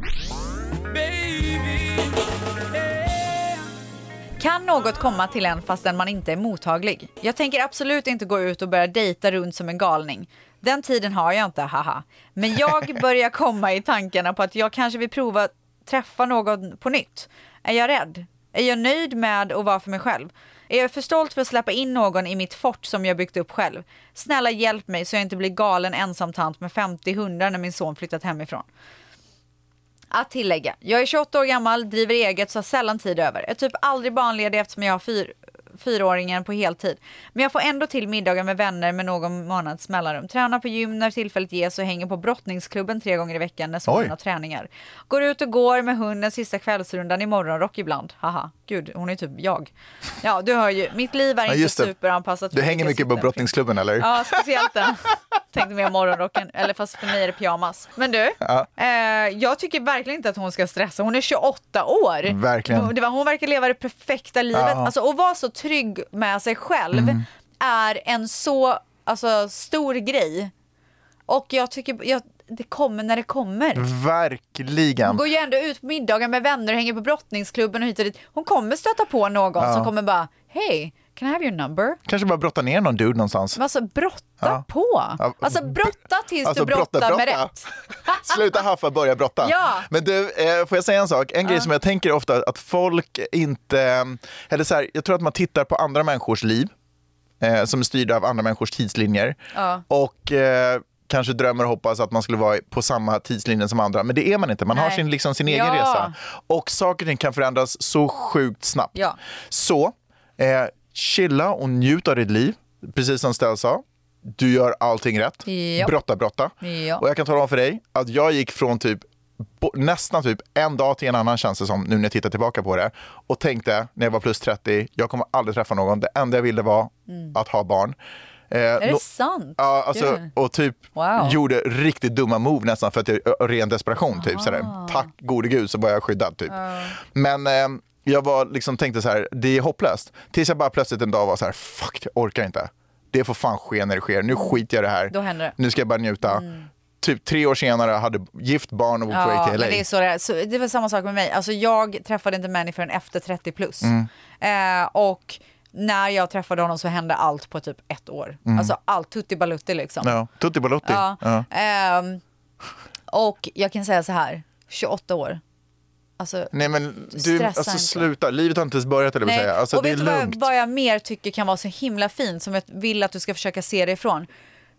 Speaker 2: Kan något komma till en fastän man inte är mottaglig? Jag tänker absolut inte gå ut och börja dejta runt som en galning. Den tiden har jag inte, haha. Men jag börjar komma i tankarna på att jag kanske vill prova att träffa någon på nytt. Är jag rädd? Är jag nöjd med att vara för mig själv? Är jag för stolt för att släppa in någon i mitt fort som jag byggt upp själv? Snälla hjälp mig så jag inte blir galen ensam tant med 50 hundar när min son flyttat hemifrån. Att tillägga, jag är 28 år gammal, driver eget, så har sällan tid över. Jag är typ aldrig barnledig eftersom jag har fyr, fyraåringen på heltid. Men jag får ändå till middagar med vänner med någon månads mellanrum. Tränar på gym när tillfället ges och hänger på brottningsklubben tre gånger i veckan när sonen
Speaker 1: Oj.
Speaker 2: har träningar. Går ut och går med hunden sista kvällsrundan i morgonrock ibland. Haha, gud, hon är typ jag. Ja, du hör ju, mitt liv är
Speaker 1: Ja,
Speaker 2: inte
Speaker 1: just det.
Speaker 2: superanpassat. för
Speaker 1: Du hänger
Speaker 2: vilka
Speaker 1: mycket på
Speaker 2: syften.
Speaker 1: brottningsklubben eller?
Speaker 2: Ja, speciellt den. Tänkte mer morgonrocken, eller fast för mig är det pyjamas. Men du, eh, jag tycker verkligen inte att hon ska stressa. Hon är 28 år.
Speaker 1: Verkligen.
Speaker 2: Hon, det var, hon verkar leva det perfekta livet.
Speaker 1: Ja. Mm.
Speaker 2: Alltså, att vara så trygg med sig själv är en så alltså, stor grej. Och jag tycker, jag, det kommer när det kommer.
Speaker 1: Mm.
Speaker 2: Hon
Speaker 1: Verkligen.
Speaker 2: går ju ändå ut på middagar med vänner och hänger på brottningsklubben och hit och dit. Hon kommer stöta på någon som kommer bara, hej, can I have your number?
Speaker 1: Kanske bara brotta ner någon dude någonstans.
Speaker 2: Men alltså brotta
Speaker 1: Ja.
Speaker 2: på.
Speaker 1: Ja,
Speaker 2: Alltså brotta tills
Speaker 1: alltså,
Speaker 2: du brottar
Speaker 1: brotta,
Speaker 2: med
Speaker 1: brotta.
Speaker 2: rätt.
Speaker 1: Sluta haffa, börja brotta.
Speaker 2: Ja.
Speaker 1: Men du, eh, får jag säga en sak? En grej som jag tänker ofta att folk inte... eh, Eller så här, jag tror att man tittar på andra människors liv eh, som är styrda av andra människors tidslinjer.
Speaker 2: Ja.
Speaker 1: Och eh, kanske drömmer och hoppas att man skulle vara på samma tidslinje som andra. Men det är man inte. Man har
Speaker 2: Nej.
Speaker 1: sin, liksom, sin egen
Speaker 2: Ja.
Speaker 1: resa. Och saker och ting kan förändras så sjukt snabbt.
Speaker 2: Ja.
Speaker 1: Så, eh, chilla och njut av ditt liv. Precis som Stell sa. Du gör allting rätt.
Speaker 2: Ja.
Speaker 1: Brotta, brotta.
Speaker 2: Ja.
Speaker 1: Och jag kan tala om för dig att jag gick från typ bo- nästan typ en dag till en annan känns det som nu när jag tittar tillbaka på det och tänkte när jag var plus 30, jag kommer aldrig träffa någon. Det enda jag ville var att ha barn. Eh,
Speaker 2: Mm. Är det sant?
Speaker 1: Ja, alltså,
Speaker 2: Gud.
Speaker 1: och typ
Speaker 2: Wow.
Speaker 1: gjorde riktigt dumma move nästan för att jag, ö- ren desperation. Typ,
Speaker 2: Ah.
Speaker 1: sådär. Tack gode gud så var jag skyddad. Typ. Men eh, jag var, liksom, tänkte så här, det är hopplöst. Tills jag bara plötsligt en dag var så här, fuck jag orkar inte. Det får fan ske när det sker. Nu skiter jag i det här.
Speaker 2: Då händer det. Mm.
Speaker 1: Nu ska jag bara njuta. Typ tre år senare hade gift barn och bor på
Speaker 2: Ja,
Speaker 1: väg till LA.
Speaker 2: men det är så det är. Så det var samma sak med mig. Alltså jag träffade inte män förrän efter 30 plus.
Speaker 1: Mm.
Speaker 2: Eh, och när jag träffade honom så hände allt på typ ett år. Alltså allt tutti balutti liksom.
Speaker 1: Mm. Ja, Tutti Balotti.
Speaker 2: Ja.
Speaker 1: Ja.
Speaker 2: Ehm, och jag kan säga så här, 28 år. Alltså,
Speaker 1: Nej men du,
Speaker 2: Stressa
Speaker 1: alltså,
Speaker 2: inte.
Speaker 1: sluta. Livet har inte ens börjat eller vad jag
Speaker 2: Nej.
Speaker 1: säga. Alltså,
Speaker 2: och
Speaker 1: det är
Speaker 2: vet du vad, jag-
Speaker 1: lugnt.
Speaker 2: vad jag mer tycker kan vara så himla fint som jag vill att du ska försöka se det ifrån?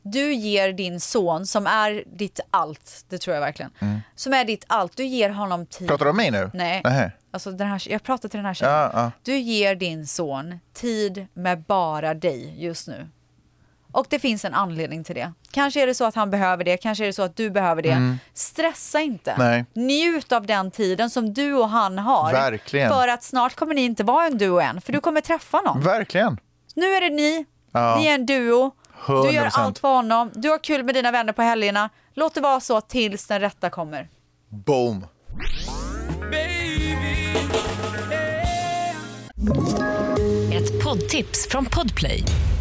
Speaker 2: Du ger din son, som är ditt allt, det tror jag verkligen, som är ditt allt, du ger honom tid.
Speaker 1: Mm. Pratar du om mig nu?
Speaker 2: Nej,
Speaker 1: Nähä.
Speaker 2: Alltså, den här, jag pratar till den här tjejen.
Speaker 1: Ja, ja.
Speaker 2: Du ger din son tid med bara dig just nu. Och det finns en anledning till det. Kanske är det så att han behöver det, kanske är det så att du behöver det. Stressa inte.
Speaker 1: Mm. Nej.
Speaker 2: Njut av den tiden som du och han har.
Speaker 1: Verkligen.
Speaker 2: För att snart kommer ni inte vara en duo än, för du kommer träffa någon.
Speaker 1: Verkligen.
Speaker 2: Nu är det ni,
Speaker 1: Ja.
Speaker 2: ni är en duo. Du gör
Speaker 1: 100%.
Speaker 2: allt för honom, du har kul med dina vänner på helgerna. Låt det vara så tills den rätta kommer.
Speaker 1: Boom.
Speaker 5: Ett poddtips från Podplay.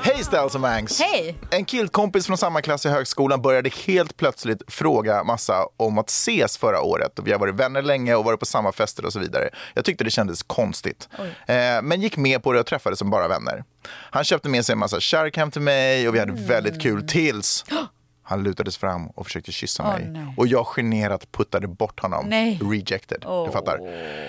Speaker 1: Hej Styles och Mangs!
Speaker 2: Hej!
Speaker 1: En killkompis från samma klass i högskolan började helt plötsligt fråga massa om att ses förra året. Vi har varit vänner länge och varit på samma fester och så vidare. Jag tyckte det kändes konstigt. Eh, men gick med på det och träffades som bara vänner. Han köpte med sig en massa kärk hem till mig och vi hade
Speaker 2: Mm.
Speaker 1: väldigt kul tills han lutades fram och försökte kyssa
Speaker 2: Åh,
Speaker 1: mig.
Speaker 2: nej.
Speaker 1: Och jag generat puttade bort honom.
Speaker 2: Oh, Nej.
Speaker 1: Rejected.
Speaker 2: Åh.
Speaker 1: Du fattar.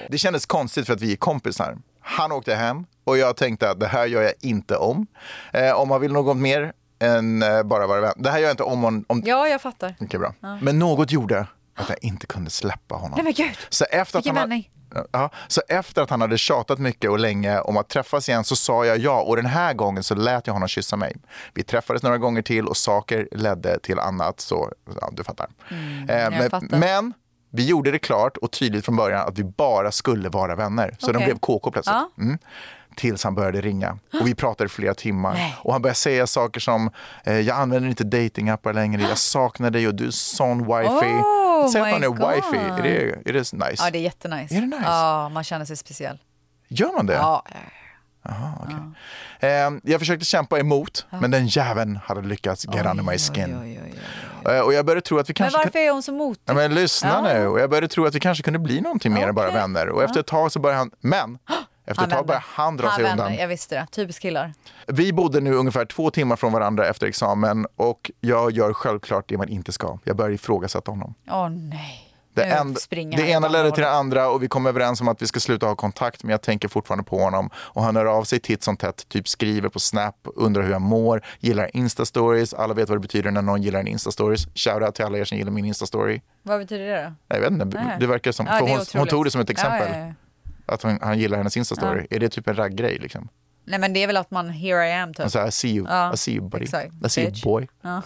Speaker 1: Det kändes konstigt för att vi är kompisar. Han åkte hem och jag tänkte att det här gör jag inte om. Eh, om han vill något mer än eh, bara vara vän. Det här gör jag inte om. om, om...
Speaker 2: Ja, jag fattar.
Speaker 1: Okej, bra.
Speaker 2: Ja.
Speaker 1: Men något gjorde att jag inte kunde släppa honom.
Speaker 2: Nej men gud!
Speaker 1: Så efter, att
Speaker 2: Vilken
Speaker 1: han hade,
Speaker 2: vändning.
Speaker 1: ja, så efter att han hade tjatat mycket och länge om att träffas igen så sa jag ja och den här gången så lät jag honom kyssa mig. Vi träffades några gånger till och saker ledde till annat så ja, du fattar.
Speaker 2: Mm,
Speaker 1: Eh,
Speaker 8: jag
Speaker 1: men,
Speaker 8: fattar.
Speaker 1: men vi gjorde det klart och tydligt från början att vi bara skulle vara vänner. Så de
Speaker 8: Okej.
Speaker 1: blev KK plötsligt.
Speaker 8: Ja.
Speaker 1: Mm. Tills han började ringa och vi pratade i flera timmar. Och han började säga saker som eh, jag använder inte datingappar längre, jag saknar dig och du är sån wifey.
Speaker 2: Oh
Speaker 1: Säg att
Speaker 2: my
Speaker 1: man är wifey, är
Speaker 2: God.
Speaker 1: det, är det nice?
Speaker 2: Ja, det är jättenice. Är det nice? Ja, man känner sig speciell.
Speaker 1: Gör man det?
Speaker 2: Ja.
Speaker 1: Aha, okej. Ehm, jag försökte kämpa emot, men den jäveln hade lyckats get under my skin. Eh, och jag började tro att vi
Speaker 2: Men
Speaker 1: kanske...
Speaker 2: varför är hon så motig?
Speaker 1: Ja, men lyssna
Speaker 2: Ja.
Speaker 1: nu. Och jag började tro att vi kanske kunde bli någonting mer än bara vänner. Och efter ett tag så började han... Men! Efter ett tag började han dra sig
Speaker 2: vände,
Speaker 1: undan.
Speaker 2: Jag visste det. Typiskt killar.
Speaker 1: Vi bodde nu ungefär två timmar från varandra efter examen och jag gör självklart det man inte ska. Jag börjar ifrågasätta honom.
Speaker 2: Åh nej.
Speaker 1: Det,
Speaker 2: Nu
Speaker 1: en,
Speaker 2: springer han
Speaker 1: det
Speaker 2: åt
Speaker 1: ena
Speaker 2: andra
Speaker 1: ledde till det andra och vi kom överens om att vi ska sluta ha kontakt men jag tänker fortfarande på honom och han hör av sig titt som tätt, typ skriver på Snap, undrar hur jag mår, gillar instastories, alla vet vad det betyder när någon gillar en instastories. Shoutout till alla er som gillar min instastory.
Speaker 2: Vad betyder det då?
Speaker 1: Nej, Jag vet inte,
Speaker 2: Nej.
Speaker 1: det verkar som,
Speaker 2: Ja,
Speaker 1: för
Speaker 2: det är
Speaker 1: hon, hon
Speaker 2: otroligt.
Speaker 1: tog det som ett
Speaker 2: Ja,
Speaker 1: exempel.
Speaker 2: ja, ja.
Speaker 1: Att hon, han gillar hennes instastory.
Speaker 2: Ja.
Speaker 1: Är det typ en ragggrej liksom?
Speaker 2: Nej men det är väl att man here I am typ.
Speaker 1: Han säger I see you,
Speaker 2: Ja,
Speaker 1: I see you buddy,
Speaker 2: exakt.
Speaker 1: I see you
Speaker 2: Bitch.
Speaker 1: boy.
Speaker 2: Ja.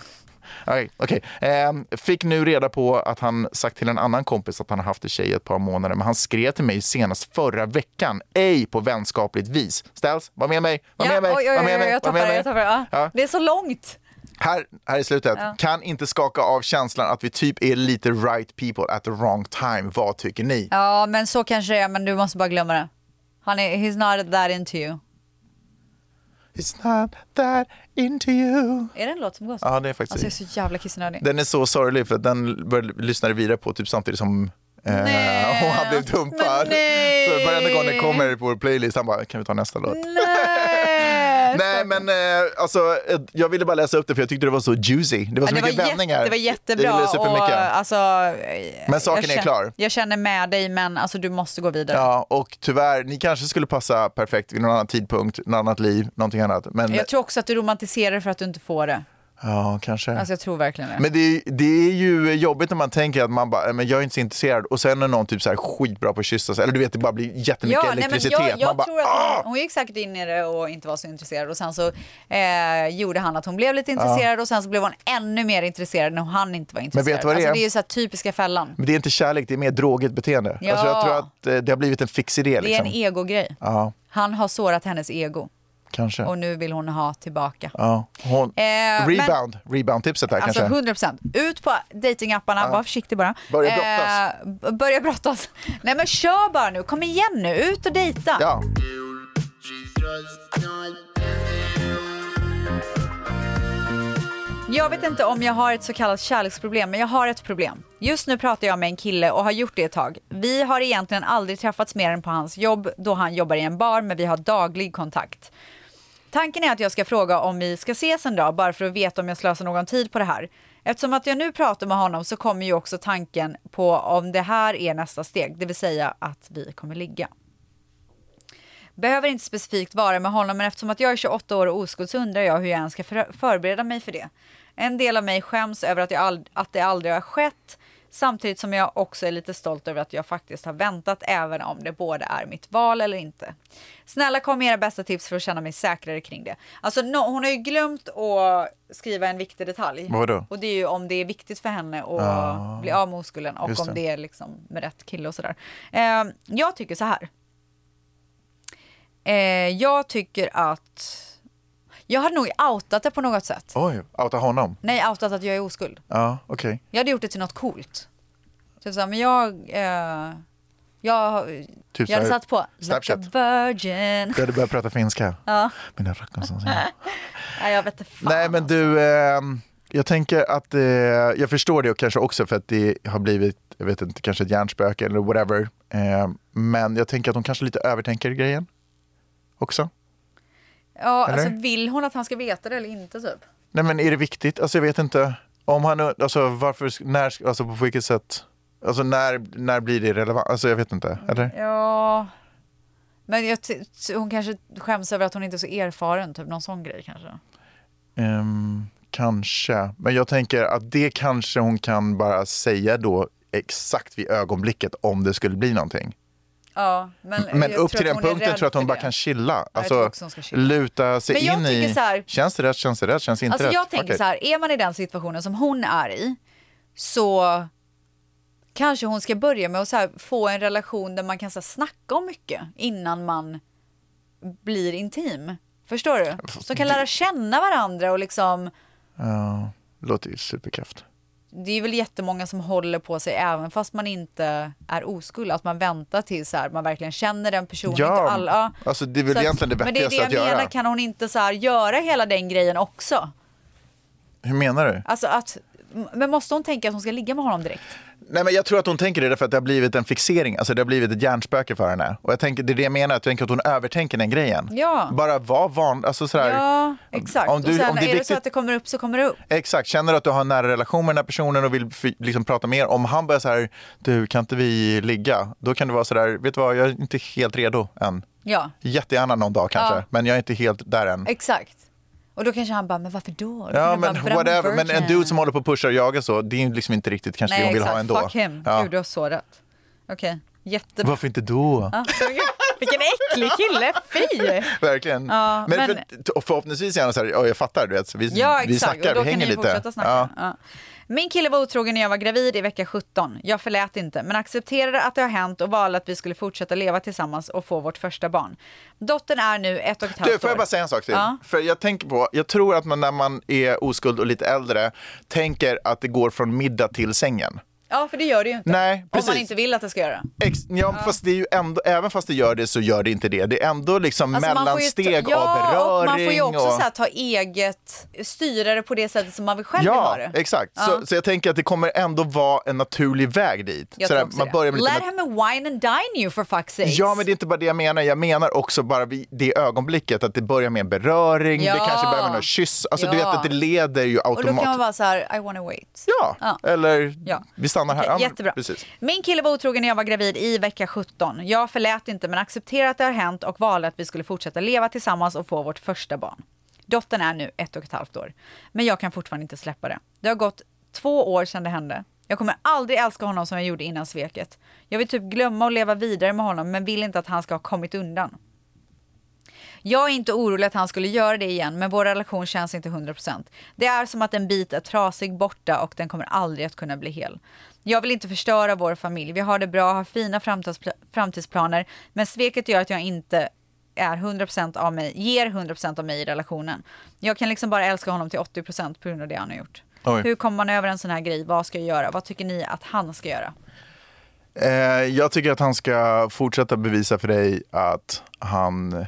Speaker 1: Okej. okej. Ehm, fick nu reda på att han sagt till en annan kompis att han har haft en tjej i ett par månader, men han skrev till mig senast förra veckan, ej på vänskapligt vis. Ställs, var med mig, var
Speaker 2: Ja,
Speaker 1: med mig,
Speaker 2: oj, oj,
Speaker 1: var
Speaker 2: oj,
Speaker 1: med
Speaker 2: oj,
Speaker 1: mig,
Speaker 2: jag
Speaker 1: var med
Speaker 2: tappar det,
Speaker 1: mig.
Speaker 2: jag tappar det. Ja.
Speaker 1: Ja.
Speaker 2: Det är så långt.
Speaker 1: Här, här i slutet,
Speaker 2: Ja.
Speaker 1: kan inte skaka av känslan att vi typ är lite right people at the wrong time. Vad tycker ni?
Speaker 2: Ja, men så kanske det är, men du måste bara glömma det. Han är, he's not that into you.
Speaker 1: He's not that into you.
Speaker 2: Är det en låt som går så?
Speaker 1: Ja, det är faktiskt
Speaker 2: Alltså jag är så jävla kissnödig.
Speaker 1: Den är så sorglig för att den började- lyssnade vidare på typ samtidigt som eh, hon hade blivit dumpad.
Speaker 2: nej.
Speaker 1: Så varenda gång den kommer på vår playlist, han bara, kan vi ta nästa låt?
Speaker 2: Nej,
Speaker 1: Nej men eh, alltså, eh, jag ville bara läsa upp det för jag tyckte det var så juicy. Det var
Speaker 2: Ja,
Speaker 1: så Alltså, mycket
Speaker 2: jätte-
Speaker 1: vändningar.
Speaker 2: det var
Speaker 1: Jag
Speaker 2: jättebra.
Speaker 1: gillade
Speaker 2: och,
Speaker 1: supermycket.
Speaker 2: eh, alltså,
Speaker 1: Men saken är
Speaker 2: känner,
Speaker 1: klar.
Speaker 2: Jag känner med dig, men alltså, du måste gå vidare.
Speaker 1: Ja, och tyvärr, ni kanske skulle passa perfekt vid någon annan tidpunkt, något annat liv, någonting annat. Men,
Speaker 2: Jag tror också att du romantiserar för att du inte får det.
Speaker 1: Ja, kanske.
Speaker 2: Alltså, jag tror verkligen det.
Speaker 1: Men det, är- det är ju jobbigt när man tänker att man bara, "Nej, men jag är inte så intresserad och sen är någon typ så här skitbra på att kyssa sig, eller du vet det bara blir jättemycket
Speaker 2: Ja, nej, men
Speaker 1: elektricitet.
Speaker 2: jag,
Speaker 1: man
Speaker 2: jag
Speaker 1: bara, "Ah!"
Speaker 2: tror att hon, hon gick säkert in i det och inte var så intresserad och sen så eh, gjorde han att hon blev lite intresserad och sen så blev hon ännu mer intresserad när han inte var intresserad.
Speaker 1: vet du vad det
Speaker 2: alltså,
Speaker 1: är?
Speaker 2: det är ju så här typiska fällan.
Speaker 1: Men det är inte kärlek, det är mer drogigt beteende.
Speaker 2: Ja.
Speaker 1: Alltså jag tror att eh, det har blivit en fix idé.
Speaker 2: Det är
Speaker 1: Liksom.
Speaker 2: en egogrej.
Speaker 1: Ja,
Speaker 2: Han har sårat hennes ego
Speaker 1: kanske.
Speaker 2: och nu vill hon ha tillbaka.
Speaker 1: Ja. Hon...
Speaker 2: Eh,
Speaker 1: Rebound, rebound-tipset där
Speaker 2: Alltså
Speaker 1: kanske.
Speaker 2: 100 procent. Ut på datingapparna,
Speaker 1: Ja.
Speaker 2: var försiktig bara.
Speaker 1: Börja brottas.
Speaker 2: Eh, b- börja brottas. Nej men kör bara nu, kom igen nu, ut och dejta.
Speaker 1: Ja.
Speaker 2: Jag vet inte om jag har ett så kallat kärleksproblem, men jag har ett problem. Just nu pratar jag med en kille och har gjort det ett tag. Vi har egentligen aldrig träffats mer än på hans jobb, då han jobbar i en bar, men vi har daglig kontakt. Tanken är att jag ska fråga om vi ska ses en dag, bara för att veta om jag slösar någon tid på det här. Eftersom att jag nu pratar med honom så kommer ju också tanken på om det här är nästa steg, det vill säga att vi kommer ligga. Behöver inte specifikt vara med honom, men eftersom att jag är 28 år och oskuld så undrar jag hur jag ens ska för- förbereda mig för det. En del av mig skäms över att, jag ald- att det aldrig har skett. Samtidigt som jag också är lite stolt över att jag faktiskt har väntat även om det både är mitt val eller inte. Snälla kom med era bästa tips för att känna mig säkrare kring det. Alltså no, hon har ju glömt att skriva en viktig detalj.
Speaker 1: Vadå?
Speaker 2: Och det är ju om det är viktigt för henne att
Speaker 1: Ah.
Speaker 2: bli av med oskulden och
Speaker 1: Just
Speaker 2: om
Speaker 1: det.
Speaker 2: det är liksom med rätt kille och sådär. Eh, jag tycker så här. Eh, jag tycker att... Jag hade nog outat det på något sätt.
Speaker 1: Oj, outa honom.
Speaker 2: Nej, outat att jag är oskuld.
Speaker 1: Ja, okej.
Speaker 2: Jag hade gjort det till något coolt. Typ så här, men jag... Eh, jag
Speaker 1: Typ så
Speaker 2: jag hade
Speaker 1: här,
Speaker 2: satt på
Speaker 1: Snapchat.
Speaker 2: Like a virgin.
Speaker 1: Du hade börjat prata finska.
Speaker 2: Ja.
Speaker 1: Mina rackarns
Speaker 2: Nej, jag vet inte.
Speaker 1: Nej, men du, ehm, jag tänker att eh, jag förstår det och kanske också för att det har blivit, jag vet inte, kanske ett hjärnspöke eller whatever. Ehm, men jag tänker att hon kanske lite övertänker grejen också.
Speaker 2: Ja,
Speaker 1: Eller?
Speaker 2: alltså, vill hon att han ska veta det eller inte typ?
Speaker 1: Nej, men är det viktigt? Alltså jag vet inte. Om han, alltså varför, när, alltså på vilket sätt, alltså när, när blir det relevant? Alltså jag vet inte, eller?
Speaker 2: Ja... Men jag ty- hon kanske skäms över att hon inte är så erfaren, typ någon sån grej kanske.
Speaker 1: Ehm, kanske. Men jag tänker att det kanske hon kan bara säga då exakt vid ögonblicket om det skulle bli någonting.
Speaker 2: Ja, men
Speaker 1: Men
Speaker 2: jag
Speaker 1: upp
Speaker 2: tror
Speaker 1: till
Speaker 2: att
Speaker 1: den
Speaker 2: hon är
Speaker 1: punkten
Speaker 2: rädd
Speaker 1: tror jag att hon
Speaker 2: för
Speaker 1: bara
Speaker 2: det.
Speaker 1: kan chilla.
Speaker 2: jag
Speaker 1: Alltså,
Speaker 2: tror också hon ska chilla.
Speaker 1: Luta sig
Speaker 2: Men jag
Speaker 1: in
Speaker 2: tycker
Speaker 1: i...
Speaker 2: så här-
Speaker 1: känns det rätt, känns det rätt, känns det inte
Speaker 2: Alltså
Speaker 1: rätt?
Speaker 2: jag tänker
Speaker 1: Fuck it.
Speaker 2: så här, är man i den situationen som hon är i så kanske hon ska börja med att så här, få en relation där man kan så här, snacka om mycket innan man blir intim. Förstår du? Så kan lära känna varandra och liksom,
Speaker 1: Ja, låter ju superkraft.
Speaker 2: det är väl jättemånga som håller på sig även fast man inte är oskuld, att man väntar tills så här, man verkligen känner den personen. inte alla.
Speaker 1: alltså det är väl
Speaker 2: Så att-
Speaker 1: egentligen det
Speaker 2: Men det är det
Speaker 1: vettigaste
Speaker 2: jag
Speaker 1: att göra.
Speaker 2: menar, kan hon inte så här, göra hela den grejen också?
Speaker 1: Hur menar du?
Speaker 2: Alltså att, men måste hon tänka att hon ska ligga med honom direkt?
Speaker 1: Nej, men jag tror att hon tänker det därför att det har blivit en fixering, alltså det har blivit ett hjärnspöke för henne. Och jag tänker, det är det jag menar, att jag tänker att hon övertänker den grejen.
Speaker 2: Ja.
Speaker 1: Bara var van, alltså sådär.
Speaker 2: Ja, exakt.
Speaker 1: Om du-
Speaker 2: och sen,
Speaker 1: om det
Speaker 2: är det
Speaker 1: är
Speaker 2: så
Speaker 1: riktigt-
Speaker 2: att det kommer upp så kommer det upp.
Speaker 1: Exakt, känner du att du har en nära relation med den här personen och vill f- liksom prata mer, om han börjar så här, du kan inte vi ligga? Då kan du vara så där, vet du vad, jag är inte helt redo än.
Speaker 2: Ja,
Speaker 1: Jättegärna någon dag kanske,
Speaker 2: Ja.
Speaker 1: men jag är inte helt där än.
Speaker 2: exakt. Och då kanske han bara, men varför då? då
Speaker 1: Ja,
Speaker 2: kan jag
Speaker 1: men
Speaker 2: bara,
Speaker 1: whatever. Men en
Speaker 2: virgin.
Speaker 1: dude som håller på och pushar och jagar så, det är ju liksom inte riktigt kanske det
Speaker 2: Nej,
Speaker 1: hon vill
Speaker 2: exakt.
Speaker 1: ha ändå.
Speaker 2: Fuck him.
Speaker 1: Ja.
Speaker 2: Gud, du har så rätt. Okej, jättebra.
Speaker 1: Varför inte då?
Speaker 2: Ja, vilken äcklig kille, fy!
Speaker 1: Verkligen.
Speaker 2: Ja,
Speaker 1: men
Speaker 2: men-
Speaker 1: För, förhoppningsvis är han så här, ja, jag fattar, du vet, så vi,
Speaker 2: Ja,
Speaker 1: vi
Speaker 2: exakt.
Speaker 1: snackar,
Speaker 2: och då
Speaker 1: vi hänger
Speaker 2: kan ni
Speaker 1: lite.
Speaker 2: fortsätta snacka. Ja. Min kille var otrogen när jag var gravid i vecka 17. Jag förlät inte, men accepterade att det har hänt och valde att vi skulle fortsätta leva tillsammans och få vårt första barn. Dottern är nu ett och ett halvt
Speaker 1: Du, får jag
Speaker 2: år.
Speaker 1: bara säga en sak till?
Speaker 2: Ja.
Speaker 1: För jag tänker på, jag tror att man när man är oskuld och lite äldre tänker att det går från middag till sängen.
Speaker 2: Ja, för det gör det ju inte.
Speaker 1: Nej,
Speaker 2: om
Speaker 1: precis.
Speaker 2: man inte vill att det ska göra.
Speaker 1: Ex- ja, Fast det är ju ändå, även fast det gör det så gör det inte det. Det är ändå liksom
Speaker 2: Alltså, man får ju ta-
Speaker 1: mellansteg av
Speaker 2: ja,
Speaker 1: beröring.
Speaker 2: och man får ju också
Speaker 1: och-
Speaker 2: så här, ta eget, styra det på det sättet som man vill själv
Speaker 1: ja,
Speaker 2: ha det.
Speaker 1: exakt.
Speaker 2: Ja.
Speaker 1: Så, så jag tänker att det kommer ändå vara en naturlig väg dit.
Speaker 2: Jag
Speaker 1: så
Speaker 2: tror
Speaker 1: där,
Speaker 2: också
Speaker 1: man
Speaker 2: det.
Speaker 1: börjar med lite
Speaker 2: Let him wine and dine you for fuck's sake.
Speaker 1: Ja, men det är inte bara det jag menar. Jag menar också bara vid det ögonblicket att det börjar med en beröring,
Speaker 2: Ja.
Speaker 1: det kanske börjar med någon kyss. Alltså
Speaker 2: Ja.
Speaker 1: du vet att det leder ju
Speaker 2: och då kan man
Speaker 1: automatiskt.
Speaker 2: vara så här, I wanna wait.
Speaker 1: Ja. Eller
Speaker 2: Ja.
Speaker 1: vi stannar här.
Speaker 2: Okej,
Speaker 1: Ja, men
Speaker 2: jättebra.
Speaker 1: Precis.
Speaker 2: Min kille var otrogen när jag var gravid i vecka 17. Jag förlät inte men accepterade att det har hänt och valde att vi skulle fortsätta leva tillsammans och få vårt första barn. Dottern är nu ett och ett halvt år. Men jag kan fortfarande inte släppa det. Det har gått två år sedan det hände. Jag kommer aldrig älska honom som jag gjorde innan sveket. Jag vill typ glömma och leva vidare med honom men vill inte att han ska ha kommit undan. Jag är inte orolig att han skulle göra det igen, men vår relation känns inte 100%. Det är som att en bit är trasig borta och den kommer aldrig att kunna bli hel. Jag vill inte förstöra vår familj. Vi har det bra, har fina framtids- framtidsplaner, men sveket gör att jag inte är 100% av mig, ger 100% av mig i relationen. Jag kan liksom bara älska honom till 80% på grund av det han har gjort.
Speaker 1: Oj.
Speaker 2: Hur kommer man över en sån här grej? Vad ska jag göra? Vad tycker ni att han ska göra?
Speaker 1: Eh, jag tycker att han ska fortsätta bevisa för dig att han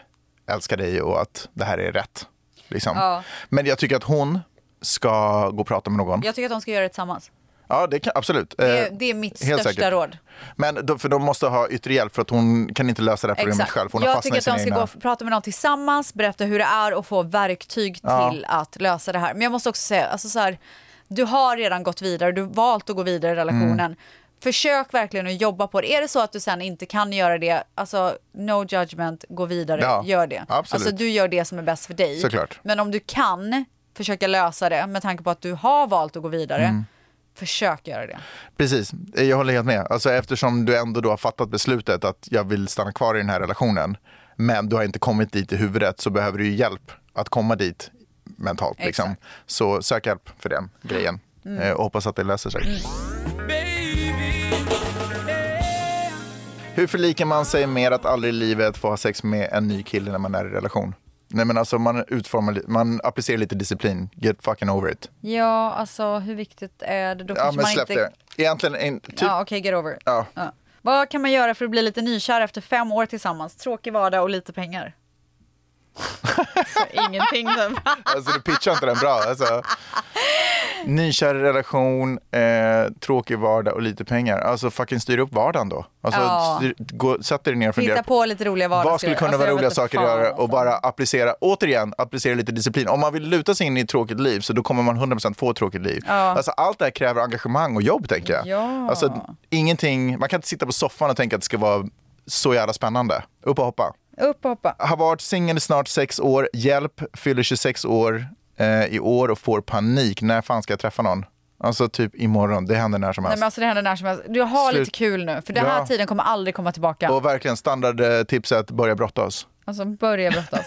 Speaker 1: älskar dig och att det här är rätt. Liksom.
Speaker 2: Ja.
Speaker 1: Men jag tycker att hon ska gå och prata med någon.
Speaker 2: Jag tycker att de ska göra det tillsammans.
Speaker 1: Ja, det kan, absolut.
Speaker 2: Det är,
Speaker 1: Eh,
Speaker 2: det är mitt
Speaker 1: helt
Speaker 2: största
Speaker 1: säkert.
Speaker 2: råd.
Speaker 1: Men då, för de måste ha yttre hjälp för att hon kan inte lösa det här problemet
Speaker 2: Exakt.
Speaker 1: själv. Hon har
Speaker 2: jag
Speaker 1: fastnat
Speaker 2: tycker att de
Speaker 1: i
Speaker 2: ska
Speaker 1: sina
Speaker 2: gå
Speaker 1: egna...
Speaker 2: och prata med någon tillsammans, berätta hur det är och få verktyg
Speaker 1: Ja.
Speaker 2: till att lösa det här. Men jag måste också säga, alltså så här, du har redan gått vidare, du har valt att gå vidare i relationen.
Speaker 1: Mm.
Speaker 2: Försök verkligen att jobba på det. Är det så att du sen inte kan göra det, alltså no judgment, gå vidare,
Speaker 1: Ja,
Speaker 2: gör det.
Speaker 1: absolut.
Speaker 2: Alltså du gör det som är bäst för dig.
Speaker 1: Såklart.
Speaker 2: Men om du kan försöka lösa det med tanke på att du har valt att gå vidare,
Speaker 1: Mm.
Speaker 2: Försök göra det.
Speaker 1: Precis, jag håller helt med. Alltså, eftersom du ändå då har fattat beslutet att jag vill stanna kvar i den här relationen, men du har inte kommit dit i huvudet så behöver du ju hjälp att komma dit mentalt. Liksom. Så sök hjälp för den grejen
Speaker 4: Mm.
Speaker 1: Eh, och hoppas att det löser sig. Hur förlikar man sig med att aldrig i livet få ha sex med en ny kille när man är i relation? Nej men alltså man utformar, li- man applicerar lite disciplin. Get fucking over it.
Speaker 2: Ja, alltså hur viktigt är det? Då
Speaker 1: Ja
Speaker 2: kanske
Speaker 1: men
Speaker 2: man
Speaker 1: släpp
Speaker 2: inte...
Speaker 1: det. Egentligen, en, typ,
Speaker 2: Ja, okej, get over it.
Speaker 1: Ja.
Speaker 2: Vad kan man göra för att bli lite nykär efter fem år tillsammans? Tråkig vardag och lite pengar. Så ingenting typ.
Speaker 1: Alltså du pitchar inte den bra. Alltså, nykär relation, eh, tråkig vardag och lite pengar. Alltså fucking styr upp vardagen då. Alltså,
Speaker 2: Ja.
Speaker 1: styr, gå, sätt dig ner och fundera
Speaker 2: Hitta på lite roliga vardagsgrejer.
Speaker 1: Vad skulle kunna
Speaker 2: Alltså,
Speaker 1: vara
Speaker 2: jag
Speaker 1: roliga
Speaker 2: vet inte
Speaker 1: saker att
Speaker 2: fan.
Speaker 1: göra och bara applicera, återigen, applicera lite disciplin. Om man vill luta sig in i ett tråkigt liv så då kommer man 100% få ett tråkigt liv.
Speaker 2: Ja.
Speaker 1: Alltså, allt det här kräver engagemang och jobb tänker jag.
Speaker 2: Ja.
Speaker 1: Alltså, ingenting, man kan inte sitta på soffan och tänka att det ska vara så jävla spännande. Upp och hoppa.
Speaker 2: alltså. Upp och hoppa.
Speaker 1: Har varit singel i snart sex år, hjälp, fyller 26 år eh, i år och får panik. När fan ska jag träffa någon? Alltså typ imorgon, det händer när som
Speaker 2: Nej
Speaker 1: helst.
Speaker 2: men alltså det händer när som helst. Du har
Speaker 1: Slut.
Speaker 2: lite kul nu, för den här
Speaker 1: Ja.
Speaker 2: tiden kommer aldrig komma tillbaka.
Speaker 1: Och verkligen standardtipset, börja brottas.
Speaker 2: Alltså börja brottas.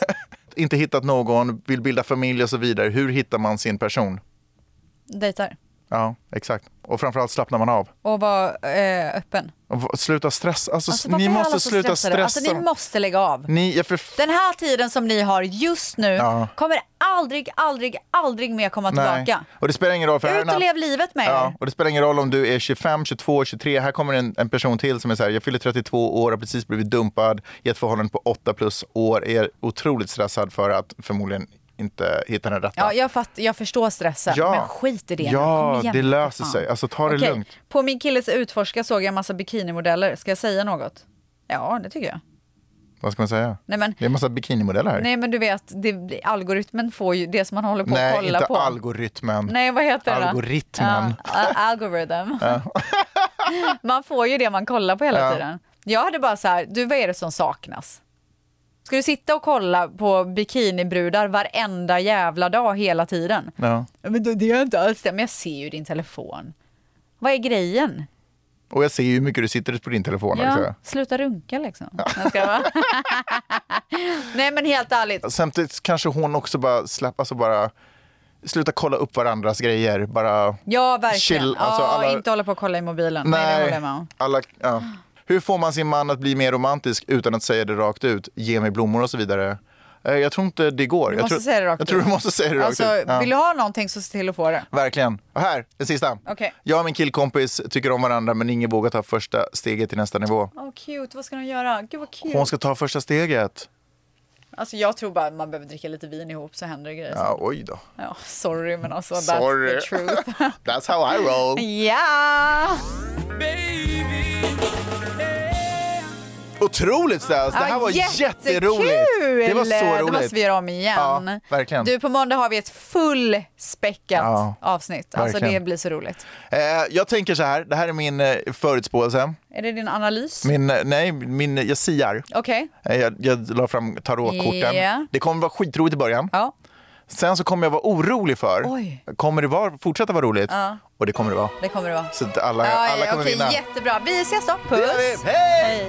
Speaker 1: inte hittat någon, vill bilda familj och så vidare. Hur hittar man sin person?
Speaker 2: Dejtar.
Speaker 1: Ja, exakt. Och framförallt slappnar man av.
Speaker 2: Och var eh, öppen.
Speaker 1: Och v- sluta stressa. Alltså,
Speaker 2: Alltså, varför
Speaker 1: ni
Speaker 2: är alla
Speaker 1: måste
Speaker 2: så
Speaker 1: sluta
Speaker 2: stressade?
Speaker 1: stressa.
Speaker 2: Alltså ni måste lägga av.
Speaker 1: Ni- jag förf-
Speaker 2: Den här tiden som ni har just nu
Speaker 1: Ja.
Speaker 2: kommer aldrig, aldrig, aldrig mer komma
Speaker 1: Nej.
Speaker 2: tillbaka.
Speaker 1: Och det spelar ingen roll för här är
Speaker 2: Ut
Speaker 1: en
Speaker 2: och
Speaker 1: annan-
Speaker 2: lev livet med
Speaker 1: Ja,
Speaker 2: er.
Speaker 1: och det spelar ingen roll om du är 25, 22, 23. Här kommer en, en person till som är så här, jag fyller 32 år, har precis blivit dumpad i ett förhållande på 8 plus år, är otroligt stressad för att förmodligen inte hitta den rätta.
Speaker 2: Ja, jag, fatt, jag förstår stressen,
Speaker 1: Ja.
Speaker 2: men skit i det nu. Kom
Speaker 1: Ja,
Speaker 2: igen,
Speaker 1: det
Speaker 2: för
Speaker 1: löser
Speaker 2: fan.
Speaker 1: sig. Alltså ta det
Speaker 2: Okej,
Speaker 1: lugnt.
Speaker 2: På min killes utforska såg jag en massa bikinimodeller. Ska jag säga något? Ja, det tycker jag.
Speaker 1: Vad ska man säga?
Speaker 2: Nej, men-
Speaker 1: det är en massa bikinimodeller här.
Speaker 2: Nej, men du vet, det, algoritmen får ju det som man håller på att
Speaker 1: Nej
Speaker 2: kolla
Speaker 1: inte
Speaker 2: på.
Speaker 1: algoritmen.
Speaker 2: Nej, vad heter det?
Speaker 1: Algoritmen.
Speaker 2: Ja, a- algorithm.
Speaker 1: Ja.
Speaker 2: man får ju det man kollar på hela
Speaker 1: Ja.
Speaker 2: tiden. Jag hade bara så här, du vad är det som saknas? Ska du sitta och kolla på bikinibrudar varenda jävla dag hela tiden?
Speaker 1: Ja.
Speaker 2: Ja, Men då- det gör jag inte alls det, men jag ser ju din telefon. Vad är grejen?
Speaker 1: Och jag ser ju hur mycket du sitter på din telefon.
Speaker 2: Ja,
Speaker 1: också.
Speaker 2: sluta runka liksom. Jag ska vara. Nej men helt ärligt,
Speaker 1: Samtidigt kanske hon också bara släppa alltså bara sluta kolla upp varandras grejer. Bara
Speaker 2: ja verkligen.
Speaker 1: Chill, alltså,
Speaker 2: ja,
Speaker 1: alla-
Speaker 2: Inte hålla på och kolla i mobilen. Nej, det håller jag med om.
Speaker 1: alla, ja. Hur får man sin man att bli mer romantisk utan att säga det rakt ut? Ge mig blommor och så vidare. Eh, Jag tror inte det går.
Speaker 2: Du
Speaker 1: jag
Speaker 2: måste
Speaker 1: tror,
Speaker 2: säga det rakt
Speaker 1: Jag tror
Speaker 2: ut.
Speaker 1: du måste säga det rakt
Speaker 2: alltså,
Speaker 1: ut. Ja.
Speaker 2: Vill du ha någonting så se till att få det.
Speaker 1: Verkligen. Och här, den sista.
Speaker 2: Okej.
Speaker 1: Jag och min killkompis tycker om varandra men ingen vågar ta första steget till nästa nivå.
Speaker 2: Åh cute, vad ska de göra? Gud vad cute.
Speaker 1: Hon ska ta första steget.
Speaker 2: Alltså jag tror bara man behöver dricka lite vin ihop så händer det grejer.
Speaker 1: Ja, oj då.
Speaker 2: Ja, sorry men alltså that's the
Speaker 1: Sorry.
Speaker 2: truth.
Speaker 1: That's how I roll.
Speaker 2: Ja!
Speaker 1: Otroligt Stas, det här
Speaker 2: Ja,
Speaker 1: var jätteroligt.
Speaker 2: Ah, jättekul!
Speaker 1: Det var så roligt.
Speaker 2: Det måste vi göra om igen.
Speaker 1: Ja, verkligen.
Speaker 2: Du, på måndag har vi ett fullspäckat
Speaker 1: Ja,
Speaker 2: avsnitt. Alltså
Speaker 1: verkligen.
Speaker 2: det blir så roligt.
Speaker 1: Eh, jag tänker så här, det här är min eh, förutspåelse.
Speaker 2: Är det din analys?
Speaker 1: Min, eh, nej, min, jag siar.
Speaker 2: Okej.
Speaker 1: Eh, Jag, jag la fram tarotkorten.
Speaker 2: Ja.
Speaker 1: Det kommer vara skitroligt i början. Sen så kommer jag vara orolig för,
Speaker 2: Oj.
Speaker 1: kommer det vara, fortsätta vara roligt?
Speaker 2: Ja.
Speaker 1: Och det kommer det vara.
Speaker 2: Det kommer det vara.
Speaker 1: Så att alla,
Speaker 2: Ja,
Speaker 1: alla
Speaker 2: ja,
Speaker 1: kommer
Speaker 2: okej,
Speaker 1: vinna.
Speaker 2: Jättebra. Vi ses då.
Speaker 5: Det
Speaker 2: Puss!
Speaker 5: gör vi.
Speaker 2: Hej!